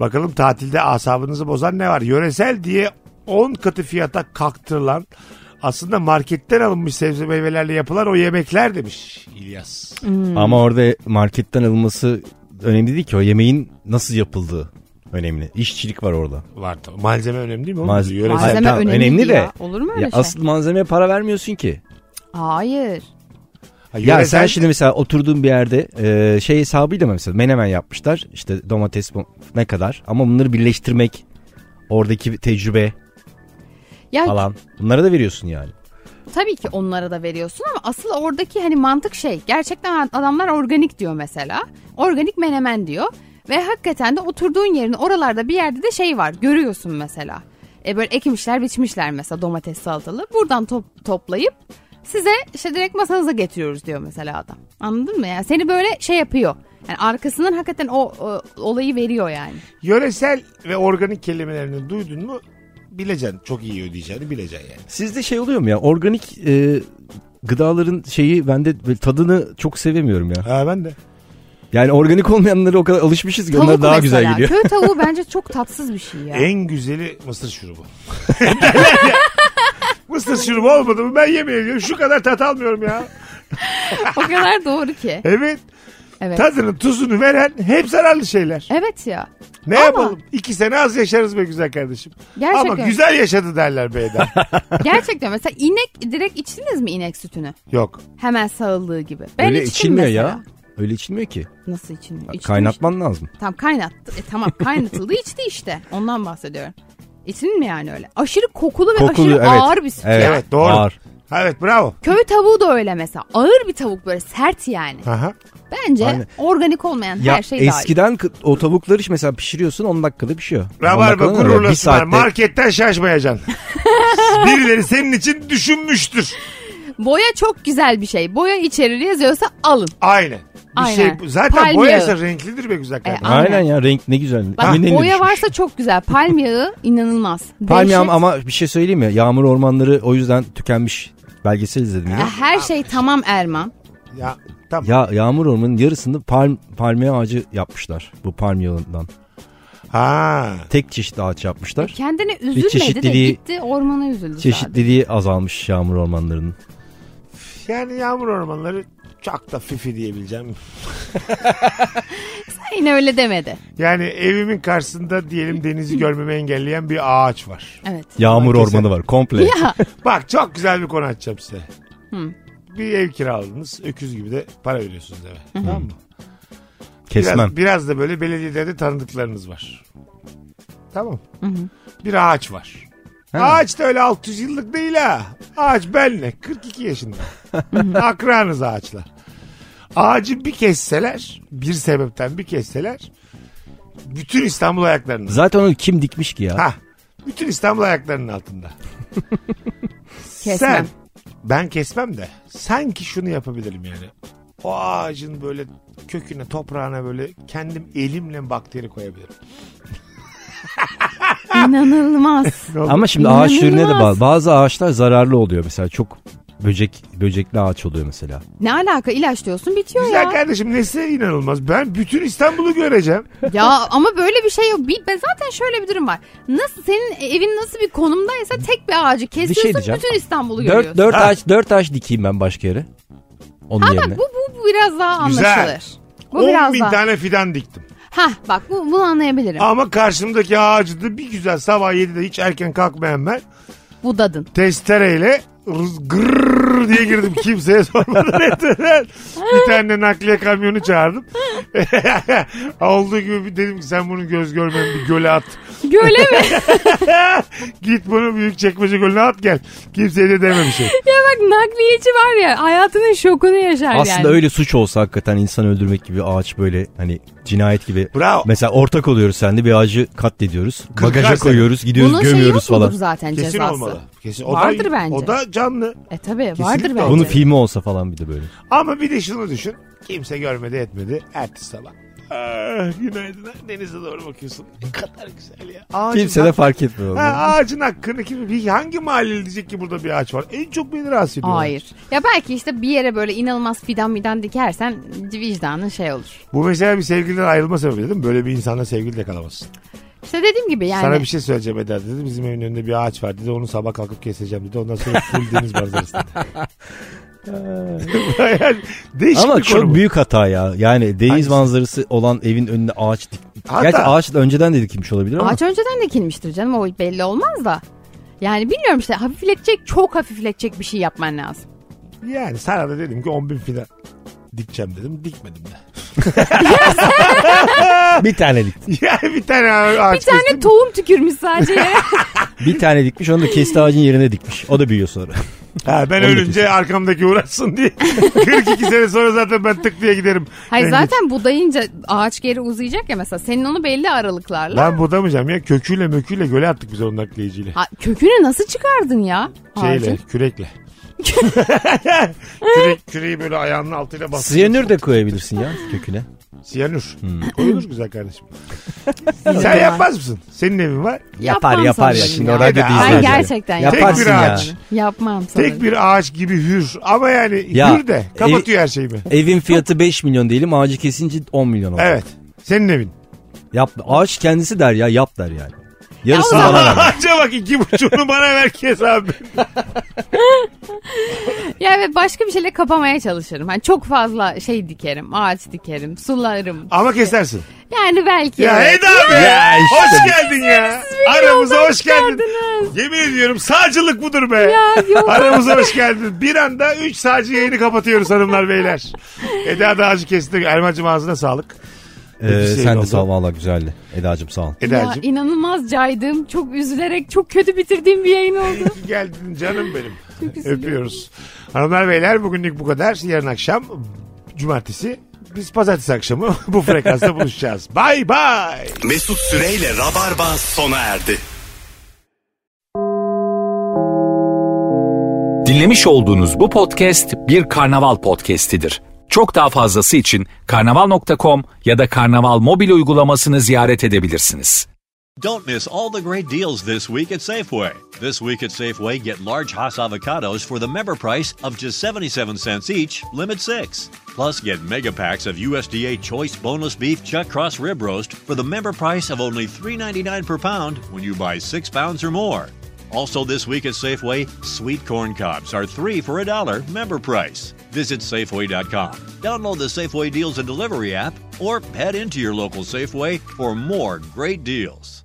Bakalım tatilde asabınızı bozan ne var? Yöresel diye 10 katı fiyata kalktırılan aslında marketten alınmış sebze meyvelerle yapılan o yemekler demiş İlyas. Ama orada marketten alınması önemli değil ki. O yemeğin nasıl yapıldığı önemli. İşçilik var orada. Var tabii. Malzeme önemli değil mi? oğlum? Malz- Yöresel. Hayır, Malzeme tamam, önemli, önemli de- ya. Olur mu öyle ya şey? Asıl malzemeye para vermiyorsun ki. Hayır. Ha, Ya yöresel- sen şimdi mesela oturduğun bir yerde e, şey hesabıyla mı mesela menemen yapmışlar. İşte domates bu- ne kadar ama bunları birleştirmek oradaki tecrübe Ya falan bunlara da veriyorsun yani. tabii ki onlara da veriyorsun ama asıl oradaki hani mantık şey. Gerçekten adamlar organik diyor mesela. Organik menemen diyor. Ve hakikaten de oturduğun yerin oralarda bir yerde de şey var. Görüyorsun mesela. E böyle ekmişler biçmişler mesela domates salatalı. Buradan top, toplayıp size işte direkt masanıza getiriyoruz diyor mesela adam. Anladın mı? Yani seni böyle şey yapıyor. Yani arkasından hakikaten o, o olayı veriyor yani. Yöresel ve organik kelimelerini duydun mu bileceksin. Çok iyi ödeyeceğini bileceksin yani. Sizde şey oluyor mu ya organik e, gıdaların şeyi ben de böyle tadını çok sevemiyorum ya. Ha ben de. Yani organik olmayanlara o kadar alışmışız ki onlar Tavuk daha mesela. güzel E? geliyor. Köy tavuğu bence çok tatsız bir şey ya. En güzeli mısır şurubu. mısır şurubu olmadı mı ben yemeyeceğim. Şu kadar tat almıyorum ya. o kadar doğru ki. Evet. Evet. Tadını tuzunu veren hep zararlı şeyler. Evet ya. Ne Ama- yapalım? İki sene az yaşarız be güzel kardeşim. Gerçekten. Ama güzel yaşadı derler beyler. Gerçekten mesela inek direkt içtiniz mi inek sütünü? Yok. Hemen sağıldığı gibi. Ben Öyle içtim içilmiyor mesela. ya. Öyle içilmiyor ki. Nasıl içilmiyor? İçtim işte. Kaynatman lazım. Tamam kaynattı. E, tamam kaynatıldı içti işte. Ondan bahsediyorum. İçin mi yani öyle? Aşırı kokulu ve Kokulu aşırı evet. ağır bir süt evet, ya. Evet, doğru. Ağır. Evet bravo. Köy tavuğu da öyle mesela. Ağır bir tavuk böyle sert yani. Aha. Bence Aynen. organik olmayan Ya her şey daha iyi. eskiden kı- o tavukları iş- mesela pişiriyorsun 10 dakikada pişiyor. 10 dakikada Rabarba mı? Böyle Bir gururlasınlar. saatte. Marketten şaşmayacaksın. Birileri senin için düşünmüştür. Boya çok güzel bir şey. Boya içerili yazıyorsa alın. Aynen. Bir Aynen. şey zaten Palmiye boyaysa yağı. renklidir be güzel kardeşim. E, Aynen. Aynen. ya renk ne güzel. Bak Yenilenir boya düşmüş. varsa çok güzel. Palm yağı inanılmaz. Palmiye Dehşet. ama bir şey söyleyeyim mi? Yağmur ormanları o yüzden tükenmiş. Belgesel izledim Ya ya. her şey tamam Erman. Ya tamam. Ya yağmur ormanının yarısını palm, palmiye ağacı yapmışlar. Bu palm yağından. Ha. Tek çeşit ağaç yapmışlar. E, Kendine üzülmedi de çeşitliliği- gitti ormana üzüldü sadece. Çeşitliliği azalmış yağmur ormanlarının. Yani yağmur ormanları çok da fifi diyebileceğim. Yine öyle demedi. Yani evimin karşısında diyelim denizi görmemi engelleyen bir ağaç var. Evet. Yağmur Herkese- ormanı var komple. Ya Bak çok güzel bir konu açacağım size. Hı. Bir ev kiraladınız. Öküz gibi de para veriyorsunuz eve. Tamam mı? Biraz, Kesmem. biraz da böyle belediyelerde tanıdıklarınız var. Tamam. Bir ağaç var. Ağaç da öyle 600 yıllık değil ha. Ağaç benle. 42 yaşında. Akranız ağaçla. Ağacı bir kesseler, bir sebepten bir kesseler bütün İstanbul ayaklarınız. Zaten onu kim dikmiş ki ya? Ha. Bütün İstanbul ayaklarının altında. Kesmem. ben kesmem de sanki şunu yapabilirim yani. O ağacın böyle köküne, toprağına böyle kendim elimle bakteri koyabilirim. inanılmaz. Ama şimdi ağaç türüne de İnanılmaz. bağlı. Bazı ağaçlar zararlı oluyor mesela. Çok böcek böcekli ağaç oluyor mesela. ne alaka ilaç diyorsun bitiyor Güzel ya. kardeşim nesine inanılmaz. Ben bütün İstanbul'u göreceğim. ya ama böyle bir şey yok. Bir, ben zaten şöyle bir durum var. Nasıl senin evin nasıl bir konumdaysa tek bir ağacı kesiyorsun şey diyeceğim. bütün İstanbul'u Dört, görüyorsun. dört ağaç dört ağaç dikeyim ben başka yere. Onun Ha yerine. bak bu, bu biraz daha Güzel. anlaşılır. Bu 10 biraz bin daha. tane fidan diktim. Ha bak bu, bunu anlayabilirim. Ama karşımdaki ağacı da bir güzel sabah 7'de hiç erken kalkmayan ben Budadın. testereyle rız- gırrrr diye girdim. Kimseye sormadan etmeden. Bir tane nakliye kamyonu çağırdım. Olduğu gibi bir dedim ki sen bunu göz görmeyen bir göle at. Göle mi? Git bunu büyük çekmece gölüne at gel. Kimseye de dememişim. ya bak nakliyeci var ya hayatının şokunu yaşar Aslında yani. öyle suç olsa hakikaten insan öldürmek gibi ağaç böyle hani cinayet gibi. Bravo. Mesela ortak oluyoruz sende bir ağacı katlediyoruz. Bagaja sene. koyuyoruz gidiyoruz Bunun şeyi yok gömüyoruz mudur falan. zaten Kesin cezası. olmalı. Kesin. Vardır da, bence. O da canlı. E tabi vardır bence. Bunun filmi olsa falan bir de böyle. Ama bir de şunu düşün. Kimse görmedi etmedi. Ertesi sabah. Ah, günaydın. Denize doğru bakıyorsun. Ne kadar güzel ya. Ağacın Kimse de fark etmiyor. onu. Ha, ağacın hakkını kim, bir- hangi mahalleli diyecek ki burada bir ağaç var? En çok beni rahatsız ediyor. Hayır. Ya belki işte bir yere böyle inanılmaz fidan midan dikersen vicdanın şey olur. Bu mesela bir sevgiliden ayrılma sebebi değil mi? Böyle bir insanla sevgili de kalamazsın. İşte dediğim gibi yani. Sana bir şey söyleyeceğim Eda dedi. Bizim evin önünde bir ağaç var dedi. Onu sabah kalkıp keseceğim dedi. Ondan sonra full deniz manzarası dedi. Bayağı Değişik Ama bir konu çok bu. büyük hata ya. Yani deniz Hangisi? manzarası olan evin önüne ağaç dik. Hatta- Gerçi ağaç da önceden de dikilmiş olabilir ama. Ağaç önceden dikilmiştir canım o belli olmaz da. Yani bilmiyorum işte hafifletecek çok hafifletecek bir şey yapman lazım. Yani sana da dedim ki 10 bin fidan dikeceğim dedim. Dikmedim de. Bir tane dikti. Yani bir tane ağaç Bir tane kestim. tohum tükürmüş sadece yere. Bir tane dikmiş onu da kesti ağacın yerine dikmiş. O da büyüyor sonra. Ha, ben Onu da ölünce kesin. arkamdaki uğraşsın diye. 42 sene sonra zaten ben tık diye giderim. Hayır Ben zaten budayınca ağaç geri uzayacak ya mesela. Senin onu belli aralıklarla. Ben budamayacağım ya. Köküyle möküyle göle attık biz onun nakliyeciyle. Ha, kökünü nasıl çıkardın ya? Şeyle, Ağacın? kürekle. Kürek, küreği böyle ayağının altıyla bastırıyorsun. Siyanür de koyabilirsin ya köküne. Siyanür. Hmm. Koyulur güzel kardeşim. Sen yapmaz mısın? Senin evin var. Yapmam sanırım ya. orada Ben değilsin. Ben gerçekten Yaparsın Tek bir ya. ağaç. Yapmam sanırım. Tek bir ağaç gibi hür. Ama yani Ya, hür de. Kapatıyor her şeyimi. Evin fiyatı 5 milyon diyelim ağacı kesince 10 milyon oldu. Evet. Senin evin. Yap, ağaç kendisi der ya yap der yani. Yarısını Ya o bana ver. Ağaca bak iki buçuğunu bana ver kes abi. Ya evet başka bir şeyle kapamaya çalışırım. Hani çok fazla şey dikerim, ağaç dikerim, sularım. Ama kesersin. Yani belki. Ya evet. Eda be. Ya işte hoş geldin ya. beni Aramıza yoldan hoş geldin. çıkardınız. Yemin ediyorum sağcılık budur be. Ya yok. Aramıza hoş geldin. Bir anda 3 sağcı yayını kapatıyoruz hanımlar beyler. Eda da ağacı kesti. Erman'cığım ağzına sağlık. Ee, Nefis sen yayın de sağ ol şey oldu. valla güzeldi. Eda'cığım sağ ol. Ya Eda'cığım. inanılmaz caydığım, çok üzülerek, çok kötü bitirdiğim bir yayın oldu. İyi ki geldin canım benim. üzüldüm. Öpüyoruz. Hanımlar beyler bugünlük bu kadar. Yarın akşam cumartesi biz pazartesi akşamı bu frekansta buluşacağız. Bay bay. Mesut Süreyle Rabarba sona erdi. Dinlemiş olduğunuz bu podcast bir karnaval podcastidir. Çok daha fazlası için karnaval.com ya da karnaval mobil uygulamasını ziyaret edebilirsiniz. Don't miss all the great deals this week at Safeway. This week at Safeway, get large Hass avocados for the member price of just 77 cents each, limit six. Plus, get mega packs of USDA Choice Boneless Beef Chuck Cross Rib Roast for the member price of only $3.99 per pound when you buy six pounds or more. Also, this week at Safeway, sweet corn cobs are three for a dollar member price. Visit Safeway.com, download the Safeway Deals and Delivery app, or head into your local Safeway for more great deals.